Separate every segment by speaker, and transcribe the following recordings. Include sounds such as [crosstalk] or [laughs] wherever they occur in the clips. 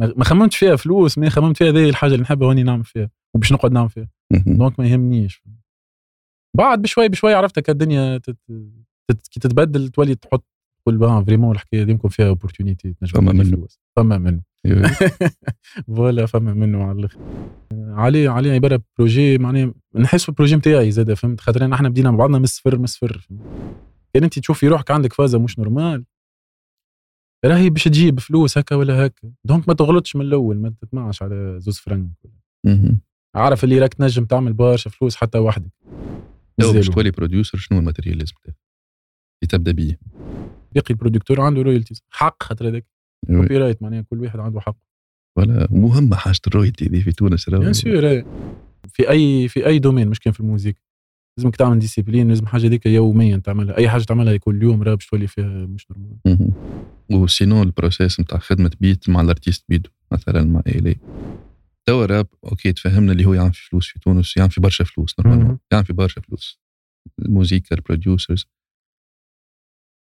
Speaker 1: ما ما خممتش فيها فلوس ما خممت فيها هذه الحاجه اللي نحبها واني نعمل فيها وباش نقعد نعمل فيها دونك ما يهمنيش بعد بشوي بشوي عرفت هكا الدنيا تت... تت... كي تتبدل تولي تحط تقول بان فريمون الحكايه ديمكم فيها اوبورتونيتي
Speaker 2: فما منه.
Speaker 1: فما منه
Speaker 2: [laughs]
Speaker 1: فوالا فما منه على الاخر علي علي عباره بروجي معناها نحس البروجي نتاعي زاد فهمت خاطر احنا بدينا مع بعضنا من الصفر من الصفر كان انت تشوف في روحك عندك فازه مش نورمال راهي باش تجيب فلوس هكا ولا هكا دونك ما تغلطش من الاول ما تطمعش على زوز فرنك عارف اللي راك تنجم تعمل برشا فلوس حتى وحدك
Speaker 2: لو باش
Speaker 1: مازالوا.
Speaker 2: تولي بروديوسر شنو الماتيريال لازم تاخذ؟ اللي تبدا بيه
Speaker 1: باقي البرودكتور عنده رويالتيز حق خاطر هذاك
Speaker 2: إيه.
Speaker 1: كوبي رايت معناها كل واحد عنده حق
Speaker 2: ولا مهمه حاجه الرويتي دي في تونس راهو.
Speaker 1: بيان
Speaker 2: ايه.
Speaker 1: سور في اي في اي دومين مش كان في الموسيقى لازمك تعمل ديسيبلين لازم حاجه هذيك يوميا تعملها اي حاجه تعملها كل يوم راه باش تولي فيها مش نورمال
Speaker 2: مهم. وسينو البروسيس نتاع خدمه بيت مع الارتيست بيدو مثلا مع الي توا راب اوكي تفهمنا اللي هو يعمل في فلوس في تونس يعمل في برشا فلوس نورمالمون
Speaker 1: مهم.
Speaker 2: يعمل في برشا فلوس الموزيكا البروديوسرز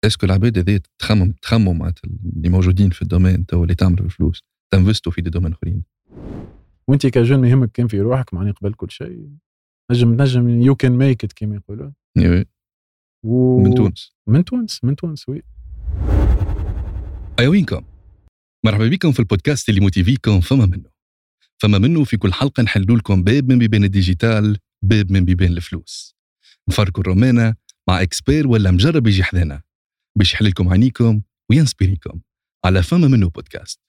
Speaker 2: اسكو العباد هذي تخمم تخمم معناتها اللي موجودين في الدومين توا اللي تعملوا في فلوس تنفستوا في دي دومين اخرين
Speaker 1: وانت كجون ما يهمك كان في روحك معناها قبل كل شيء نجم نجم يو كان ميك ات كيما يقولوا
Speaker 2: إيوه،
Speaker 1: و...
Speaker 2: من تونس
Speaker 1: من تونس من تونس وي
Speaker 2: أيوة وينكم مرحبا بكم في البودكاست اللي موتيفيكم فما منه فما منه في كل حلقة نحلوا لكم باب من بيبان الديجيتال باب من بيبان الفلوس نفركوا الرومانة مع اكسبير ولا مجرب يجي حدانا باش يحل لكم عينيكم وينسبيريكم على فما منه بودكاست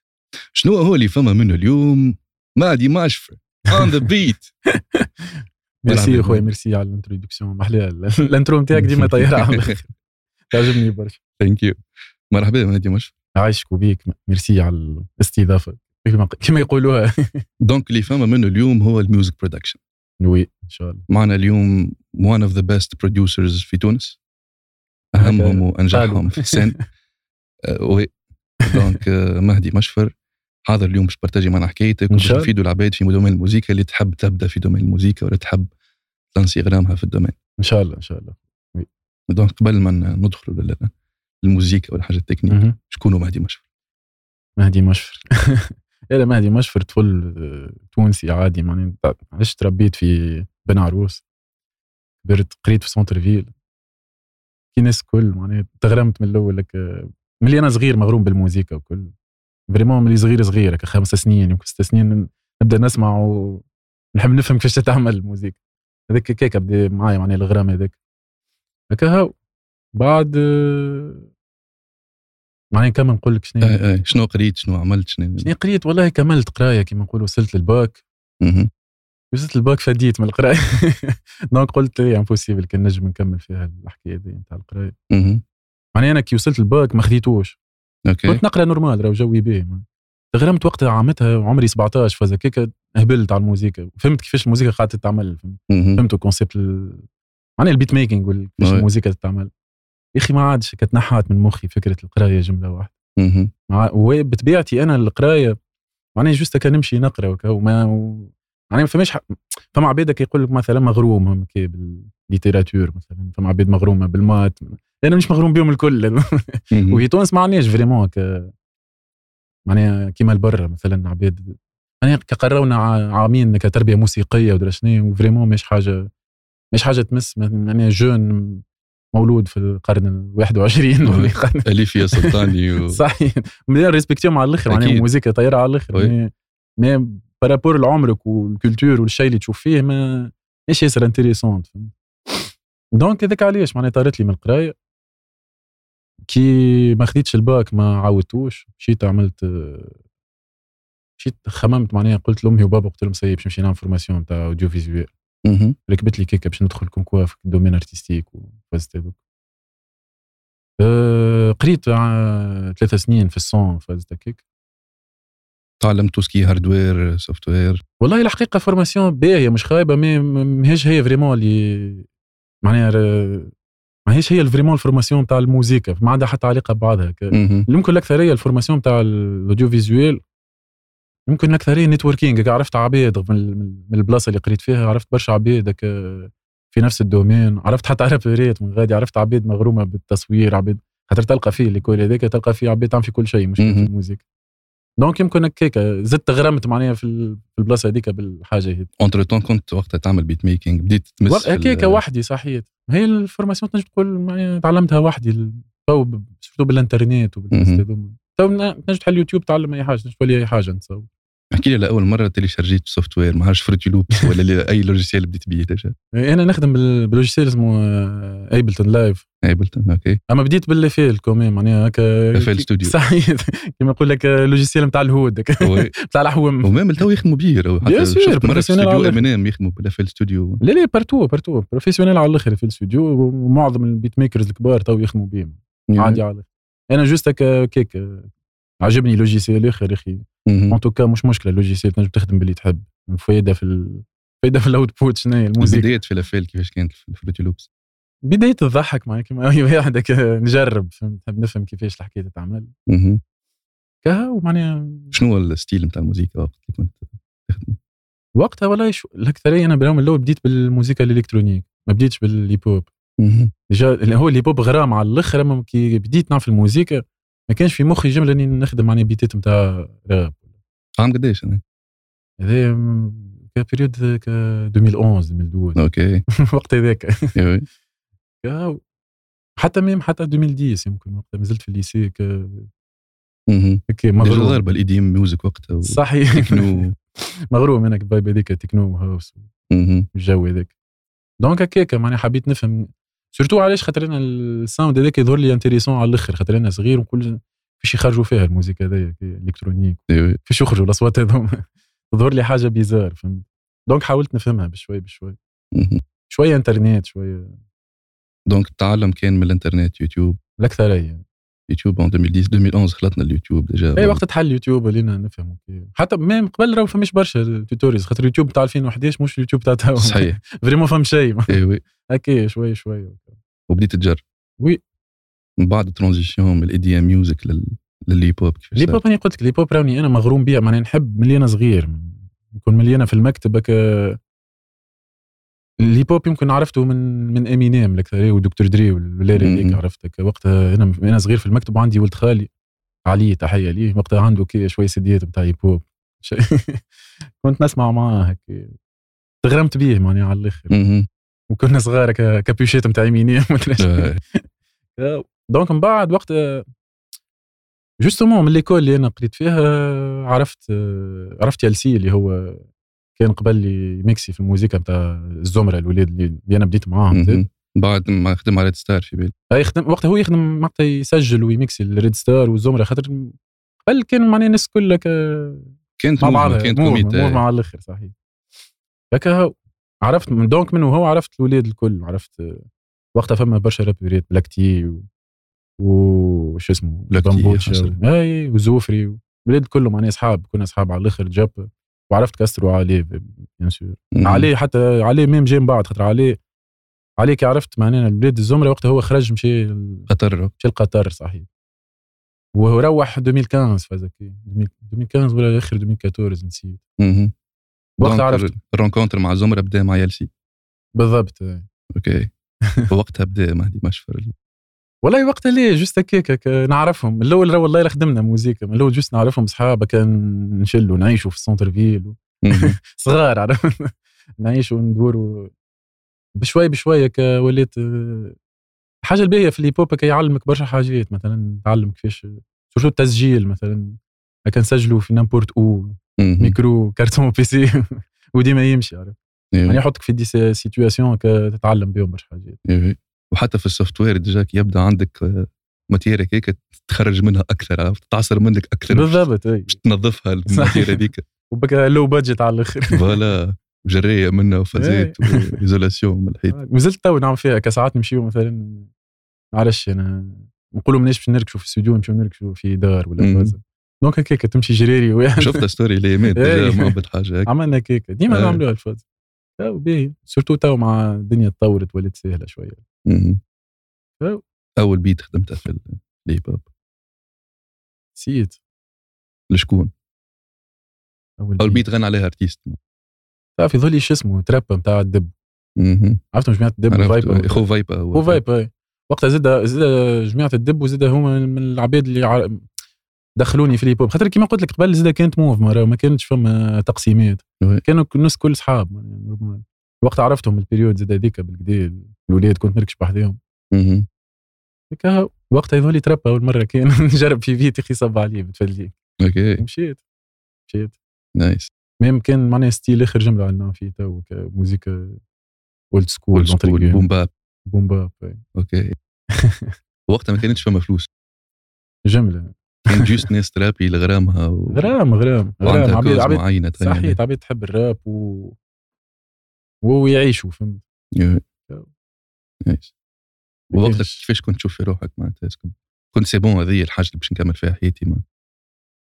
Speaker 2: شنو هو اللي فما منه اليوم مادي معشفة اون ذا بيت
Speaker 1: [laughs] ميرسي
Speaker 2: بالعمل.
Speaker 1: خويا ميرسي على الانتروداكسيون محلى [laughs] الانترو نتاعك
Speaker 2: [laughs]
Speaker 1: ديما طياره على الآخر. تعجبني برشا
Speaker 2: ثانك يو مرحبا مادي معشفة
Speaker 1: عايشك وبيك ميرسي على الاستضافه كما كما يقولوها [laughs]
Speaker 2: دونك اللي فما منه اليوم هو الميوزك برودكشن
Speaker 1: وي ان شاء الله
Speaker 2: معنا اليوم one of the best producers في تونس اهمهم وانجحهم
Speaker 1: قالوا.
Speaker 2: في السن
Speaker 1: [laughs]
Speaker 2: آه، وي دونك آه، مهدي مشفر حاضر اليوم باش بارتاجي معنا حكايتك
Speaker 1: إن
Speaker 2: وباش
Speaker 1: شاء الله.
Speaker 2: تفيدوا العباد في دومين الموسيقى اللي تحب تبدا في دومين الموسيقى ولا تحب تنسي غرامها في الدومين
Speaker 1: ان شاء الله ان شاء الله
Speaker 2: دونك قبل ما ندخلوا لل- للموسيقى ولا حاجه التكنيك
Speaker 1: مهم.
Speaker 2: شكون هو مهدي مشفر
Speaker 1: مهدي مشفر [laughs] لا مهدي مشفر طفل آه، تونسي عادي معناها عشت تربيت في بن عروس كبرت قريت في سونتر فيل كي ناس كل معناها تغرمت من الاول لك آه، ملي انا صغير مغروم بالموسيقى وكل فريمون ملي صغير صغير هكا خمس سنين يمكن ست سنين نبدا نسمع ونحب نفهم كيفاش تتعمل الموسيقى هذاك كيك بدا معايا معناها الغرام هذاك هكا هاو بعد آه، معناها كما نقول لك شنو
Speaker 2: آه، آه، شنو قريت شنو عملت شنو
Speaker 1: شني قريت والله كملت قرايه كما نقولوا وصلت للباك
Speaker 2: مهم.
Speaker 1: وصلت للباك فديت من [laughs] القرايه دونك قلت لي امبوسيبل كان نجم نكمل فيها الحكايه دي نتاع القرايه
Speaker 2: مهم.
Speaker 1: معناها انا كي وصلت للباك ما خديتوش
Speaker 2: اوكي
Speaker 1: كنت نقرا نورمال راهو جوي به تغرمت وقتها عامتها عمري 17 فاز هكاك هبلت على الموسيقى فهمت كيفاش الموسيقى قاعده تتعمل فهمت
Speaker 2: مهم.
Speaker 1: فهمت الكونسيبت ال... معناها البيت ميكينغ وال- كيفاش
Speaker 2: وي.
Speaker 1: الموسيقى تتعمل يا اخي ما عادش كتنحات من مخي فكره القرايه جمله واحده
Speaker 2: مهم.
Speaker 1: مع وبطبيعتي انا القرايه معناها جوست كان نمشي نقرا وكا وما و... يعني ما فماش ح... فما عباد يقول لك مثلا مغروم هم كي بالليتيراتور مثلا فما عباد مغرومه بالمات انا مش مغروم بيهم الكل
Speaker 2: مهم.
Speaker 1: وفي تونس ما عندناش فريمون ك معناها كيما البرة مثلا عباد يعني كقرونا ع- عامين كتربيه موسيقيه ودرا شنو وفريمون مش حاجه مش حاجه تمس معناها جون مولود في القرن ال 21 ولا القرن
Speaker 2: اليف يا سلطاني و...
Speaker 1: [laughs] صحيح مليان ريسبكتيهم على الاخر معناها
Speaker 2: أكيد.
Speaker 1: الموسيقى طايره على الاخر
Speaker 2: وي.
Speaker 1: مي- مي بارابور لعمرك والكولتور والشيء اللي تشوف فيه ما ماشي ياسر انتريسونت دونك هذاك علاش معناها طارت لي من القرايه كي ما خديتش الباك ما عاودتوش مشيت عملت آه، مشيت خممت معناها قلت لامي وبابا قلت لهم سيب باش نمشي نعمل فورماسيون تاع اوديو فيزيوال
Speaker 2: مهم.
Speaker 1: ركبت لي كيكه باش ندخل كونكوا في الدومين ارتستيك وفازت هذوك أه قريت ع- ثلاثة سنين في السون فازت هكاك
Speaker 2: تعلمت سكي هاردوير سوفت وير
Speaker 1: والله الحقيقه فورماسيون باهيه مش خايبه مي م- ماهيش هي فريمون اللي معناها ر- ماهيش هي فريمون الفورماسيون تاع الموسيقى ما عندها حتى علاقه ببعضها هكا. يمكن الاكثريه الفورماسيون تاع الاوديو فيزيوال يمكن الاكثريه نتوركينغ عرفت عباد من من- من البلاصه اللي قريت فيها عرفت برشا عباد هكا في نفس الدومين عرفت حتى رابريت من غادي عرفت عباد مغرومه بالتصوير عباد خاطر تلقى فيه اللي كل هذاك تلقى فيه عباد تعمل في كل شيء مش في
Speaker 2: مهم.
Speaker 1: الموسيقى دونك يمكن هكاك زدت غرمت معناها في ال- في البلاصه هذيك بالحاجه هذيك
Speaker 2: اونتر تون كنت وقتها تعمل بيت ميكينج بديت تمس
Speaker 1: وق-
Speaker 2: في ال-
Speaker 1: هكاك وحدي صحيت هي الفورماسيون تنجم تقول معناها تعلمتها وحدي تو ب- سورتو بالانترنت وبالقصص
Speaker 2: مهم.
Speaker 1: هذوما. تو ن- تنجم تحل يوتيوب تعلم اي حاجه تنجم تولي اي حاجه نتصور
Speaker 2: احكي لي على اول مره تيليشارجيت سوفت وير ما عرفش فروتي لوب [laughs] ولا ل- اي لوجيسيال بديت بيه ديجا
Speaker 1: انا نخدم بال- بلوجيسيل اسمه آه، ايبلتون لايف
Speaker 2: ايبلتون اوكي
Speaker 1: اما بديت بالليفيل كومين معناها هكا
Speaker 2: FL Studio.
Speaker 1: صحيت [laughs] كيما نقول لك آه، لوجيسيل نتاع الهود هكا، [laughs]
Speaker 2: [laughs] هو-
Speaker 1: نتاع الحوم
Speaker 2: ومام تو يخدموا بيه راهو.
Speaker 1: Bien sûr,
Speaker 2: حتى شفت مره في
Speaker 1: professionnel
Speaker 2: استوديو
Speaker 1: على
Speaker 2: ام ام يخدموا بالافل ستوديو
Speaker 1: لا لا بارتو بارتو بروفيسيونيل على الاخر في الاستوديو ومعظم البيت ميكرز الكبار تو يخدموا بهم عادي على الاخر انا جوست هكا كيك عجبني لوجيسيال اخر اخي
Speaker 2: مهم.
Speaker 1: ان توكا مش مشكله لوجيسيال تنجم تخدم باللي تحب الفايده في ال... الفايده في الاوتبوت شنو هي الموزيك
Speaker 2: البدايات في الافل كيفاش كانت في الفروتي لوبس
Speaker 1: بدايه تضحك معايا كيما أي واحد هكا نجرب فهمت نحب نفهم كيفاش الحكايه تتعمل
Speaker 2: مهم.
Speaker 1: كها ومعناها
Speaker 2: شنو هو الستيل نتاع الموسيقى وقت اللي كنت تخدمه
Speaker 1: وقتها والله شو... الاكثريه انا باليوم الاول بديت بالموسيقى الالكترونيك ما بديتش بالهيب هوب
Speaker 2: مهم.
Speaker 1: ديجا اللي هو اللي بوب غرام على الاخر اما كي بديت نعرف الموسيقى ما كانش في مخي جمله اني نخدم على بيتات نتاع راب
Speaker 2: عام قداش انا
Speaker 1: هذا م- كان بيريود ك 2011 2012
Speaker 2: [laughs] اوكي
Speaker 1: [laughs] وقت هذاك
Speaker 2: إيوه.
Speaker 1: كا- حتى ميم حتى 2010 يمكن وقتها مازلت في الليسي ك-
Speaker 2: مهم.
Speaker 1: هكا
Speaker 2: ديجا
Speaker 1: مغروم
Speaker 2: ضاربه الاي دي ام ميوزك وقتها و-
Speaker 1: صحيح
Speaker 2: تكنو.
Speaker 1: [laughs] مغروم انا باي هذيك تكنو هاوس
Speaker 2: [laughs] مهم.
Speaker 1: والجو هذاك دونك هكاك معناها حبيت نفهم سورتو علاش خاطر انا الساوند هذاك يظهر لي انتريسون على الاخر خاطر انا صغير وكل باش يخرجوا فيها الموسيقى هذيا الالكترونيك
Speaker 2: إيوه.
Speaker 1: كيفاش يخرجوا الاصوات هذوما [laughs] تظهر لي حاجه بيزار فهمت دونك حاولت نفهمها بشوي بشوي
Speaker 2: مهم.
Speaker 1: شويه انترنت شويه
Speaker 2: دونك التعلم كان من الانترنت يوتيوب
Speaker 1: الاكثريه
Speaker 2: يوتيوب ان 2010 2011 خلطنا اليوتيوب ديجا
Speaker 1: اي إيه، وقت تحل يوتيوب ولينا نفهموا كي- حتى ميم قبل راهو فماش برشا توتوريالز خاطر اليوتيوب تاع 2011 مش اليوتيوب تاع توا [laughs]
Speaker 2: صحيح
Speaker 1: فريمون فهم شيء [laughs]
Speaker 2: ايوه
Speaker 1: هكا شويه شويه
Speaker 2: وبديت تجرب
Speaker 1: وي.
Speaker 2: من بعد ترانزيسيون من الاي دي ام ميوزك لل... للهيب هوب كيفاش
Speaker 1: لي بوب انا قلت لك لي بوب راني انا مغروم بها معناها نحب ملي انا صغير نكون ملي انا في المكتب هكا اللي بوب يمكن عرفته من من امينيم الاكثريه ودكتور دري والولاد
Speaker 2: مم.
Speaker 1: هذيك عرفتك وقتها انا انا صغير في المكتب وعندي ولد خالي علي تحيه ليه وقتها عنده كي شويه سيديات نتاع هيب هوب شي- [laughs] كنت نسمع معاه هكا تغرمت بيه معناها على الاخر
Speaker 2: مهم.
Speaker 1: وكنا صغار هكا كابيوشات نتاع [laughs] امينيم ومدري شنو.
Speaker 2: آه،
Speaker 1: دونك من بعد وقت جوستومون من ليكول اللي انا قريت فيها عرفت عرفت يلسي اللي هو كان قبل لي ميكسي في الموسيقى نتاع الزمره الاولاد اللي اللي انا بديت معاهم زاد.
Speaker 2: مهم. بعد ما خدم على ريد ستار في بالي
Speaker 1: هاي يخدم وقتها هو يخدم وقتها يسجل ويميكسي الريد ستار والزمره خاطر قبل كان معناها الناس كلها ك-
Speaker 2: كانت
Speaker 1: مع
Speaker 2: موفمة،
Speaker 1: بعضها
Speaker 2: كانت إيه.
Speaker 1: موفمة،
Speaker 2: كوميتا
Speaker 1: موفمة على الاخر صحيح هكا عرفت من دونك منه هو عرفت الاولاد الكل عرفت آه، وقتها فما برشا رابيرات بلاك تي و, و... شو اسمه
Speaker 2: بلاك تي،
Speaker 1: بامبوتشا
Speaker 2: حسن.
Speaker 1: و... اي وزوفري و... الولاد كلهم معناها اصحاب كنا اصحاب على الاخر جاب وعرفت كاستر وعلي بيان سور
Speaker 2: مهم.
Speaker 1: علي حتى علي ميم جاي من بعد خاطر علي علي كي عرفت معناها الولاد الزمره وقتها هو خرج مشي ال-
Speaker 2: خطر
Speaker 1: مشى لقطر صحيح وهو روح 2015 فازك 2015 ولا اخر 2014 نسيت
Speaker 2: مهم.
Speaker 1: وقت
Speaker 2: دونك
Speaker 1: عرفت
Speaker 2: الرونكونتر مع زمرة بدا مع يلسي
Speaker 1: بالضبط إيه.
Speaker 2: اوكي وقتها بدا مهدي مشفر
Speaker 1: والله وقتها ليه جوست هكاك هكا نعرفهم من الاول راه والله لا خدمنا موزيكا من الاول جوست نعرفهم صحابه كان نشلوا نعيشوا في السونتر فيل
Speaker 2: مهم.
Speaker 1: صغار عرفت [laughs] نعيشوا وندوروا بشوي بشوي هكا وليت آه، الحاجه الباهيه في الهيب هكا يعلمك برشا حاجات مثلا تعلم كيفاش سورتو التسجيل مثلا هكا نسجلوا في نامبورت او
Speaker 2: مهم.
Speaker 1: ميكرو كارتون [laughs] بي سي وديما يمشي عرفت
Speaker 2: إيه.
Speaker 1: يعني يحطك في دي سيتوياسيون هكا تتعلم بهم برشا حاجات
Speaker 2: إيه. وحتى في السوفت وير ديجا كي يبدا عندك آه، ماتيريا هيك تخرج منها اكثر عرفت؟ تعصر منك اكثر
Speaker 1: بالضبط اي
Speaker 2: باش
Speaker 1: [laughs]
Speaker 2: تنظفها
Speaker 1: صحيح.
Speaker 2: الماتيريا هذيك
Speaker 1: وبكا لو بادجت على الاخر
Speaker 2: فوالا جريه منها وفازات
Speaker 1: إيه.
Speaker 2: وايزولاسيون من الحيط
Speaker 1: [laughs] وزلت تو نعمل فيها كساعات نمشيو مثلا معلش انا نقولوا مناش باش نركشوا في استوديو نمشيو نركشوا في دار ولا
Speaker 2: مم.
Speaker 1: فازة دونك هكاك تمشي جريري
Speaker 2: [laughs]
Speaker 1: ويا
Speaker 2: شفت ستوري اللي مات ديجا
Speaker 1: إيه.
Speaker 2: معبد حاجه هيك
Speaker 1: عملنا هكاك ديما
Speaker 2: آه.
Speaker 1: نعملوها الفازة تو باهي سورتو تو مع الدنيا تطورت ولات سهله شويه
Speaker 2: مهم.
Speaker 1: أو.
Speaker 2: اول بيت خدمتها في الهيب هوب
Speaker 1: نسيت
Speaker 2: لشكون؟ اول
Speaker 1: بيت.
Speaker 2: بيت غنى عليها ارتيست
Speaker 1: آه، في ظلي شو اسمه تراب نتاع الدب
Speaker 2: مهم.
Speaker 1: عرفتوا جماعه الدب
Speaker 2: عرفت.
Speaker 1: فايبر
Speaker 2: خو فايبا هو.
Speaker 1: وفايب اي وقتها زاد زاد جماعه الدب وزاد هما من العباد اللي ع... دخلوني في الهيب هوب خاطر كيما قلت لك قبل زاد كانت موف مرة ما كانتش فما تقسيمات
Speaker 2: وي.
Speaker 1: كانوا الناس كل صحاب يعني ربما وقت عرفتهم البريود زاد هذيك بالكدا الاولاد كنت نركش بحذاهم
Speaker 2: مهم.
Speaker 1: هكا وقتها يظهر لي تراب اول مره كان [laughs] نجرب في بيتي اخي صب عليه متفلي
Speaker 2: اوكي
Speaker 1: مشيت مشيت
Speaker 2: نايس
Speaker 1: ميم كان معناها ستيل اخر جمله عندنا فيه تو موزيكا اولد سكول
Speaker 2: كول سكول بوم باب
Speaker 1: بوم باب [laughs]
Speaker 2: اوكي وقتها ما كانتش فما فلوس
Speaker 1: جمله
Speaker 2: كان جوست ناس ترابي لغرامها و...
Speaker 1: غرام غرام غرام
Speaker 2: وعندها
Speaker 1: عبيد
Speaker 2: كوز يعني.
Speaker 1: عبيد
Speaker 2: معينه تغني
Speaker 1: صحيح عبيد تحب يعني الراب و وهو يعيشوا فهمت
Speaker 2: عليها. يا. نايس
Speaker 1: ما
Speaker 2: ووقتها
Speaker 1: كانش.
Speaker 2: كيفاش كنت تشوف في روحك معناتها اسكو- كنت سي بون هذه هي الحاجه اللي باش نكمل فيها حياتي ما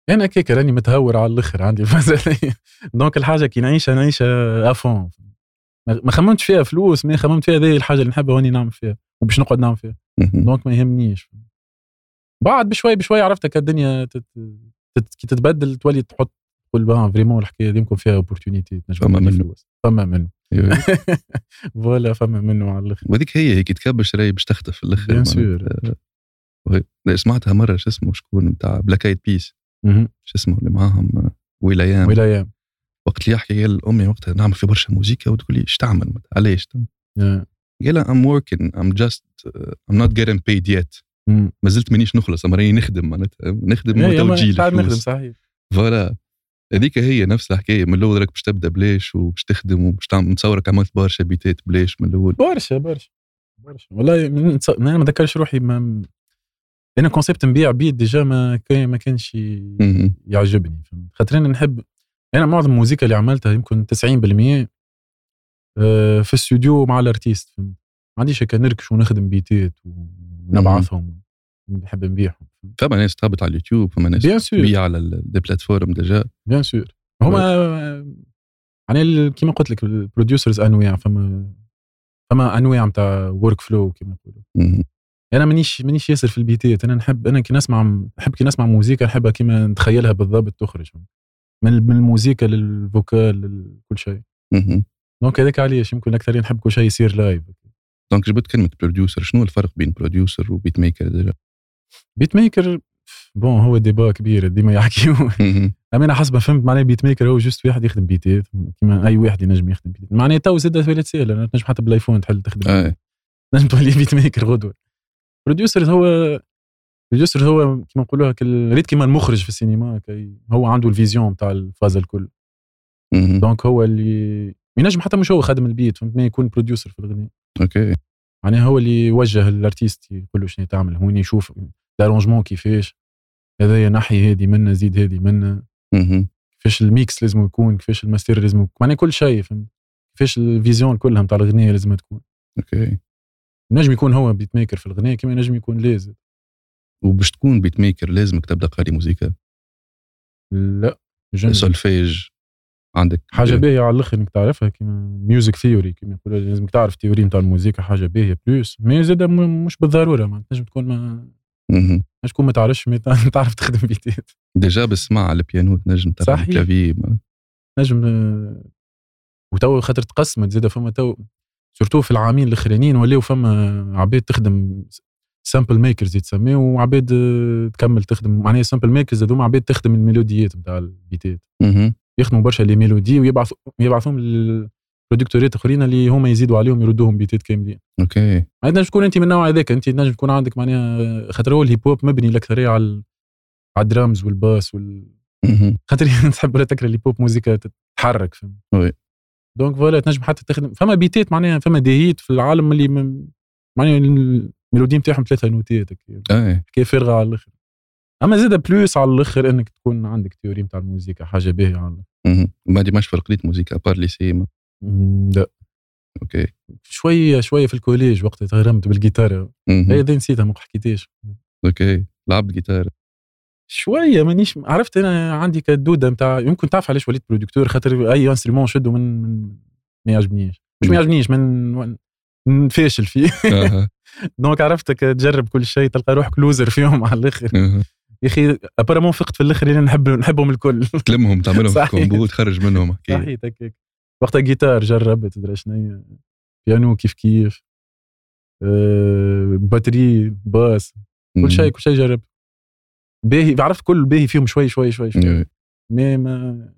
Speaker 1: انا كيك راني يعني متهور على الاخر عندي [laughs] المساله دونك الحاجه كي نعيشها نعيشها افون ما ما خممتش فيها فلوس ما خممت فيها هذه الحاجه اللي نحبها واني نعمل فيها وباش نقعد نعمل فيها
Speaker 2: مهم.
Speaker 1: دونك ما يهمنيش بعد بشوي بشوي عرفت هكا الدنيا تت... تت... كي تتبدل تولي تحط تقول بان فريمون الحكايه هذه يمكن فيها اوبورتونيتي تنجم
Speaker 2: فما
Speaker 1: تعمل
Speaker 2: منه.
Speaker 1: فلوس فما منه
Speaker 2: يا.
Speaker 1: فوالا فما منه على الاخر
Speaker 2: وهذيك هي هيك تكبر شراي باش تخطف في الاخر
Speaker 1: بيان
Speaker 2: معناتها.
Speaker 1: سور
Speaker 2: وهي- لا، سمعتها مره شو اسمه شكون نتاع بلاك ايد بيس شو اسمه اللي معاهم ولايام
Speaker 1: ولايام
Speaker 2: وقت اللي يحكي قال امي وقتها نعمل في برشا موزيكا وتقول لي ايش تعمل علاش تعمل؟
Speaker 1: آه.
Speaker 2: قال لها I'm working I'm just uh, I'm not getting paid yet
Speaker 1: مم.
Speaker 2: ما زلت مانيش نخلص اما راني نخدم معناتها نخدم
Speaker 1: إيه، يما
Speaker 2: وتوجيه
Speaker 1: تعال نخدم
Speaker 2: الفلوس
Speaker 1: صحيح
Speaker 2: فوالا هذيك هي نفس الحكايه من الاول راك باش تبدا بلاش وباش تخدم وباش تعمل نتصورك عملت برشا بيتات بلاش من الاول
Speaker 1: برشا برشا برشا والله من- تص- انا ما ذكرش روحي ما انا كونسيبت نبيع بيت ديجا ما كان ما كانش ي-
Speaker 2: مهم.
Speaker 1: يعجبني فهمت خاطر انا نحب انا معظم الموسيقى اللي عملتها يمكن 90% آه، في الاستوديو مع الارتيست فهمت ما عنديش هكا نركش ونخدم بيتات ونبعثهم نحب نبيعهم
Speaker 2: فما ناس تهبط على اليوتيوب فما ناس
Speaker 1: بيان سور
Speaker 2: تبيع على ال- دي بلاتفورم ديجا
Speaker 1: بيان سور هما يعني ال- كيما قلت لك البروديوسرز انواع فما فما انواع نتاع ورك فلو كيما يقولوا
Speaker 2: مهم.
Speaker 1: انا مانيش مانيش ياسر في البيتات انا نحب انا كي نسمع نحب كي نسمع موسيقى نحبها كيما نتخيلها بالضبط تخرج من من الموسيقى للفوكال لكل شيء
Speaker 2: مهم.
Speaker 1: دونك هذاك علاش يمكن اكثر نحب كل شيء يصير لايف
Speaker 2: دونك جبت كلمه بروديوسر شنو الفرق بين بروديوسر وبيت ميكر ديجا
Speaker 1: بيت ميكر بون هو ديبا كبير ديما يحكيو [laughs]
Speaker 2: مهم.
Speaker 1: اما انا حسب ما فهمت معناه بيت ميكر هو جوست واحد يخدم بيتات كيما اي واحد ينجم يخدم بيتات معناه تو زاد ولات سهله أنا تنجم حتى بالايفون تحل تخدم
Speaker 2: آه.
Speaker 1: [laughs] لازم تولي بيت ميكر غدوه بروديوسر هو بروديوسر هو كيما نقولوها كال- ريت كيما المخرج في السينما كي هو عنده الفيزيون تاع الفاز الكل
Speaker 2: مهم.
Speaker 1: دونك هو اللي ينجم حتى مش هو خادم البيت فهمت ما يكون بروديوسر في الاغنيه
Speaker 2: اوكي
Speaker 1: يعني هو اللي يوجه الارتيست يقول له شنو تعمل هون يشوف الارونجمون كيفاش هذا نحي هذه منا زيد هذه منا
Speaker 2: مهم.
Speaker 1: كيفاش الميكس لازم يكون كيفاش الماستر لازم يكون معناها كل شيء فهمت كيفاش الفيزيون كلها نتاع الاغنيه لازم تكون
Speaker 2: اوكي
Speaker 1: نجم يكون هو بيت ميكر في الاغنيه كما نجم يكون لازم
Speaker 2: وباش تكون بيت ميكر لازمك تبدا قاري موسيقى
Speaker 1: لا جملة.
Speaker 2: سولفيج عندك
Speaker 1: حاجه باهيه على الاخر انك تعرفها كيما ميوزك ثيوري كيما يقولوا لازمك تعرف الثيوري نتاع الموسيقى حاجه باهيه بلوس مي زاد م- مش بالضروره ما تنجم تكون ما
Speaker 2: مهم.
Speaker 1: مش تكون ما تعرفش مي تع- [laughs] تعرف تخدم بيتات
Speaker 2: ديجا بالسماع على البيانو تنجم تلعب
Speaker 1: صحيح.
Speaker 2: الكلافي ما-
Speaker 1: نجم آه، وتو خاطر تقسمت زاد فما تو سورتو في العامين الاخرانيين ولاو فما عباد تخدم سامبل ميكرز يتسميو وعباد آه، تكمل تخدم معناها سامبل ميكرز هذوما عباد تخدم الميلوديات نتاع البيتات
Speaker 2: مهم.
Speaker 1: يخدموا برشا لي ميلودي ويبعثوا يبعثوهم للبرودكتوريات اخرين اللي هما يزيدوا عليهم يردوهم بيتات كاملين
Speaker 2: اوكي
Speaker 1: معناتها نجم تكون انت من النوع هذاك انت نجم تكون عندك معناها خاطر هو الهيب هوب مبني الاكثريه على ال- على الدرامز والباس وال
Speaker 2: مهم.
Speaker 1: خاطر [laughs] تحب ولا تكره الهيب هوب موزيكا تتحرك فهمت
Speaker 2: وي.
Speaker 1: دونك فوالا تنجم حتى تخدم فما بيتات معناها فما ديهيت في العالم اللي م- معناها الميلودي نتاعهم ثلاثه نوتات هكا.
Speaker 2: ايه
Speaker 1: حكايه فارغه على الاخر اما زاد بلوس على الاخر انك تكون عندك تيوري نتاع الموسيقى حاجه باهيه على الاخر
Speaker 2: مهم. ما ديماش فرقليت موسيقى ابار ليسي ما-
Speaker 1: م، لا
Speaker 2: اوكي
Speaker 1: شويه شويه في الكوليج وقت تغرمت بالجيتار
Speaker 2: مهم.
Speaker 1: هذا نسيتها ما حكيتهاش
Speaker 2: اوكي لعبت جيتار
Speaker 1: شويه مانيش عرفت انا عندي كدوده نتاع يمكن تعرف علاش وليت برودكتور خاطر اي انسترومون شده من, من ما يعجبنيش مش ما يعجبنيش من نفاشل فيه [laughs]
Speaker 2: آه.
Speaker 1: دونك عرفتك تجرب كل شيء تلقى روحك لوزر فيهم على الاخر
Speaker 2: آه.
Speaker 1: يا اخي ابارمون فقت في الاخر اللي نحب نحبهم الكل [laughs]
Speaker 2: تلمهم تعملهم في
Speaker 1: صحيح.
Speaker 2: كومبو تخرج منهم حكايه
Speaker 1: صحيت هكاك وقتها جيتار جربت تدري شنو هي. بيانو كيف كيف آه،
Speaker 2: Mhm.
Speaker 1: أه باتري باس كل شيء كل شيء جربت باهي عرفت كل باهي فيهم شوي شوي شوي شوي
Speaker 2: إيه.
Speaker 1: مي ما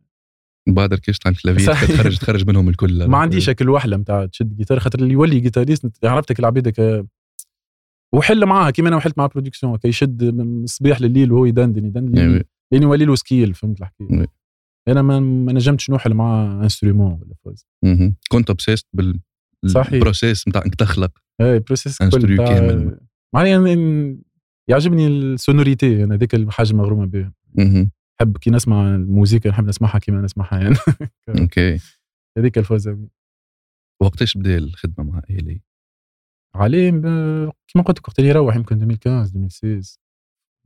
Speaker 2: بادر كيش تاع الكلافيه
Speaker 1: صحيح.
Speaker 2: تخرج تخرج
Speaker 1: [laughs]
Speaker 2: منهم الكل
Speaker 1: ما عنديش هاك الوحله نتاع تشد جيتار خاطر اللي يولي جيتاريست عرفتك العبيد هكا وحل معاها كيما انا وحلت مع برودكسيون هكا يشد من الصباح لليل وهو يدندن يدندن
Speaker 2: إيه.
Speaker 1: لين- لين يولي له سكيل يعني فهمت الحكايه
Speaker 2: إيه.
Speaker 1: انا ما ما نجمتش نوحل مع انسترومون ولا فوز
Speaker 2: مهم. كنت اوبسيست بال
Speaker 1: صحيح.
Speaker 2: البروسيس نتاع انك تخلق
Speaker 1: اي بروسيس
Speaker 2: Instru
Speaker 1: إيه، كل تاع-
Speaker 2: كامل.
Speaker 1: معناها إن- إن- يعجبني السونوريتي انا ذيك الحاجه المغرومه بها
Speaker 2: مهم.
Speaker 1: نحب كي نسمع الموسيقى نحب نسمعها كيما نسمعها يعني [laughs]
Speaker 2: اوكي
Speaker 1: هذيك الفوز
Speaker 2: وقتاش بدا الخدمه مع الي
Speaker 1: عليه ب- كيما قلت لك وقت اللي يروح يمكن 2015 2016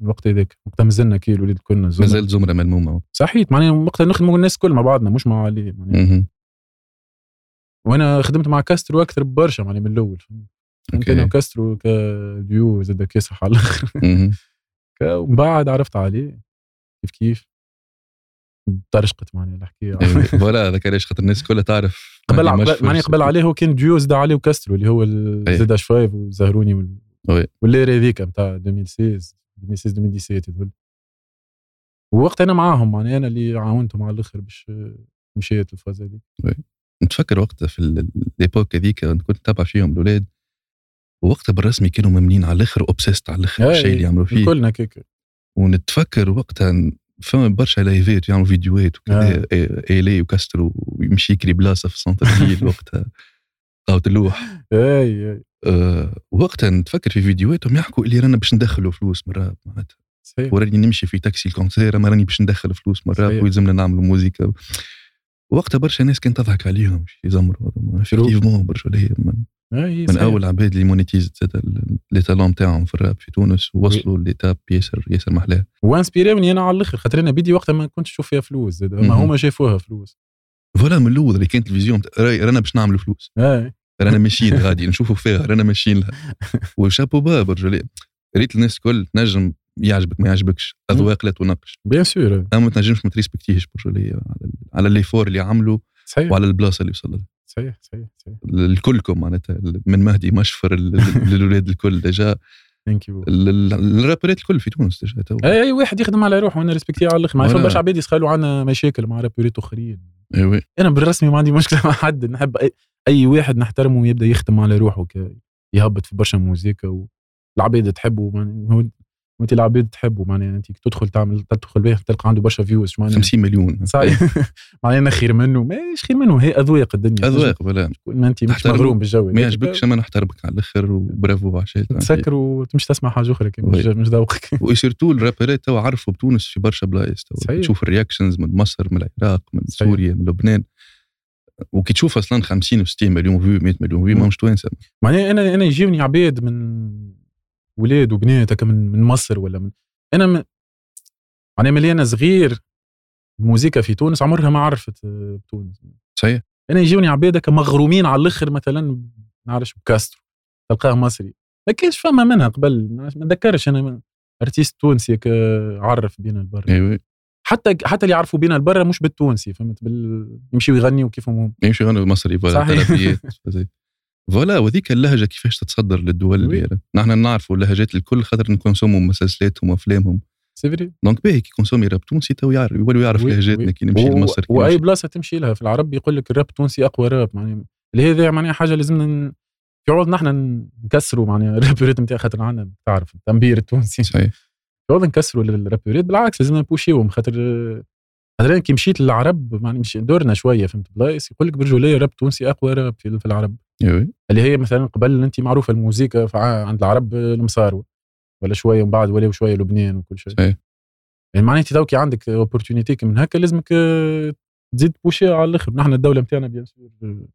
Speaker 1: الوقت هذاك وقتها مازلنا كي الولاد كنا زوم.
Speaker 2: مازال زمره ملمومه
Speaker 1: صحيت معناها وقتها نخدموا الناس الكل مع بعضنا مش مع علي معناها
Speaker 2: مهم.
Speaker 1: وانا خدمت مع كاسترو اكثر برشا معناها من الاول فهمت انا
Speaker 2: اوكي
Speaker 1: وكاسترو كديو زاد كاسح على الاخر
Speaker 2: مهم.
Speaker 1: [laughs] ك- ومن بعد عرفت عليه كيف كيف طرشقت معناها الحكايه
Speaker 2: إيه. فوالا هذاك علاش خاطر الناس كلها تعرف
Speaker 1: يعني. قبل
Speaker 2: مهدي
Speaker 1: قبل-
Speaker 2: مشفر.
Speaker 1: معناها قبل عليه هو كان ديو زاد عليه وكاسترو اللي هو
Speaker 2: إيه.
Speaker 1: زاد شفايف وزهروني وال...
Speaker 2: وي.
Speaker 1: واللير هذيك نتاع 2016 2016 2017 هذول ووقت انا معاهم معناها انا اللي عاونتهم على الاخر باش مشيت الفاز هذيك
Speaker 2: نتفكر وقتها في ال- الايبوك هذيك كنت تابع فيهم الاولاد وقتها بالرسمي كانوا ممنين على الاخر اوبسيست على الاخر
Speaker 1: إيه.
Speaker 2: الشيء اللي يعملوا فيه
Speaker 1: كلنا كيك
Speaker 2: ونتفكر وقتها فما برشا لايفات يعملوا فيديوهات وكذا
Speaker 1: آه.
Speaker 2: إيه- الي وكاسترو ويمشي يكري بلاصه في
Speaker 1: [laughs]
Speaker 2: سنتر فيل وقتها قهوه اللوح
Speaker 1: اي اي
Speaker 2: أه وقتها نتفكر في فيديوهاتهم يحكوا اللي رانا باش ندخلوا فلوس مرات معناتها
Speaker 1: صحيح
Speaker 2: وراني نمشي في تاكسي الكونسير اما راني باش ندخل فلوس مرات
Speaker 1: صحيح.
Speaker 2: ويلزمنا نعملوا موزيكا وقتها برشا ناس كانت تضحك عليهم باش يزمروا افكتيفمون برشا اللي هي من,
Speaker 1: أي،
Speaker 2: من
Speaker 1: صحيح.
Speaker 2: اول عباد اللي مونيتيزت زاد ال- لي تالون تاعهم في الراب في تونس ووصلوا لتاب ياسر ياسر محلاه
Speaker 1: وانسبيروني انا على الاخر خاطر انا بيدي وقتها ما كنتش نشوف فيها فلوس زاد ما
Speaker 2: مهم.
Speaker 1: هما شافوها فلوس
Speaker 2: فوالا من الاول اللي كانت الفيزيون متاع- راي- رانا باش نعملوا فلوس
Speaker 1: اي
Speaker 2: رانا ماشيين غادي نشوفوا فيها رانا ماشيين لها وشابو باب رجل ريت الناس الكل تنجم يعجبك ما يعجبكش اذواق لا تناقش
Speaker 1: بيان سور
Speaker 2: اما ما تنجمش ما تريسبكتيهش برجولي على ال- على الليفور اللي عملوا
Speaker 1: صحيح
Speaker 2: وعلى البلاصه اللي وصل لها
Speaker 1: صحيح صحيح صحيح
Speaker 2: الكلكم معناتها من مهدي مشفر ال-
Speaker 1: [laughs]
Speaker 2: ال- للولاد الكل ديجا
Speaker 1: ثانك يو
Speaker 2: ال- ال- الرابرات الكل في تونس ديجا تو
Speaker 1: اي اي إيه، واحد يخدم على روحه وانا ريسبكتي على الاخر ما
Speaker 2: ولا.
Speaker 1: فما برشا عباد يسخلوا عنا مشاكل مع رابوريت اخرين
Speaker 2: إي إيه وي.
Speaker 1: انا بالرسمي ما عندي مشكله [laughs] مع حد نحب اي, أي واحد نحترمه يبدا يخدم على روحه ك... يهبط في برشا موزيكا والعباد تحبه معناها هو- وانت العباد تحبه معناها انت كي تدخل تعمل تدخل به تلقى عنده برشا فيوز شو معناها
Speaker 2: 50 مليون
Speaker 1: صحيح [laughs] معناها انا خير منه ماهيش خير منه هي اذواق الدنيا
Speaker 2: اذواق فوالا
Speaker 1: تكون ما انت مش
Speaker 2: تحترمه،
Speaker 1: مغروم بالجو
Speaker 2: ما
Speaker 1: هذاك.
Speaker 2: يعجبكش اما نحترمك على الاخر وبرافو عشان
Speaker 1: تسكر وتمشي تسمع حاجه اخرى كي مش مش ذوقك
Speaker 2: وسيرتو الرابرات تو عرفوا بتونس في برشا بلايص تو
Speaker 1: صحيح.
Speaker 2: تشوف الرياكشنز من مصر من العراق من
Speaker 1: صحيح.
Speaker 2: سوريا من لبنان وكي تشوف اصلا 50 و 60 مليون فيو 100 مليون فيو ما مش توانسه
Speaker 1: معناها انا انا يجيوني عباد من ولاد وبنات هكا من من مصر ولا من انا م... معناها ملي انا صغير الموسيقى في تونس عمرها ما عرفت آه، تونس
Speaker 2: صحيح
Speaker 1: انا يجوني عباد هكا مغرومين على الاخر مثلا ب- نعرفش بكاسترو تلقاه مصري ما كانش فما منها قبل ما نذكرش انا ارتيست تونسي هكا عرف بينا البر
Speaker 2: ايوه
Speaker 1: حتى حتى اللي يعرفوا بينا البر مش بالتونسي فهمت بال... يمشيوا يغنيوا كيفهم هم
Speaker 2: يمشي غنوا يعني مصري فوالا
Speaker 1: صحيح. [laughs]
Speaker 2: تلاتيات، فزي. فوالا وذيك اللهجه كيفاش تتصدر للدول
Speaker 1: وي.
Speaker 2: الكبيره نحن نعرفوا اللهجات الكل خاطر نكونسومو مسلسلاتهم وافلامهم
Speaker 1: سي فري
Speaker 2: دونك باهي كي كونسومي راب تونسي تو يعرف يولي يعرف
Speaker 1: وي-
Speaker 2: لهجاتنا
Speaker 1: وي.
Speaker 2: كي نمشي
Speaker 1: و-
Speaker 2: لمصر كي
Speaker 1: واي
Speaker 2: نمشي-
Speaker 1: بلاصه تمشي لها في العرب يقول لك الراب التونسي اقوى راب معناها لهذا معناها حاجه لازمنا ن- في عوض نحن نكسروا معناها [laughs] الرابوريت نتاع خاطر عندنا تعرف التنبير
Speaker 2: [laughs]
Speaker 1: التونسي في
Speaker 2: صحيح
Speaker 1: عوض نكسروا الرابوريت بالعكس لازمنا نبوشيهم خاطر خاطر أنا كي مشيت للعرب معناها مشي- دورنا شويه فهمت بلايص يقول لك برجوليه راب تونسي اقوى راب في, في العرب [laughs]
Speaker 2: ايوه
Speaker 1: اللي هي مثلا قبل انت معروفه الموسيقى فع- عند العرب المصاروه ولا شويه من بعد ولا شويه لبنان وكل شيء
Speaker 2: صحيح.
Speaker 1: يعني معناتها توكي عندك اوبورتونيتي من هكا لازمك آه، تزيد بوشي على الاخر نحن الدوله نتاعنا بيان سور آه،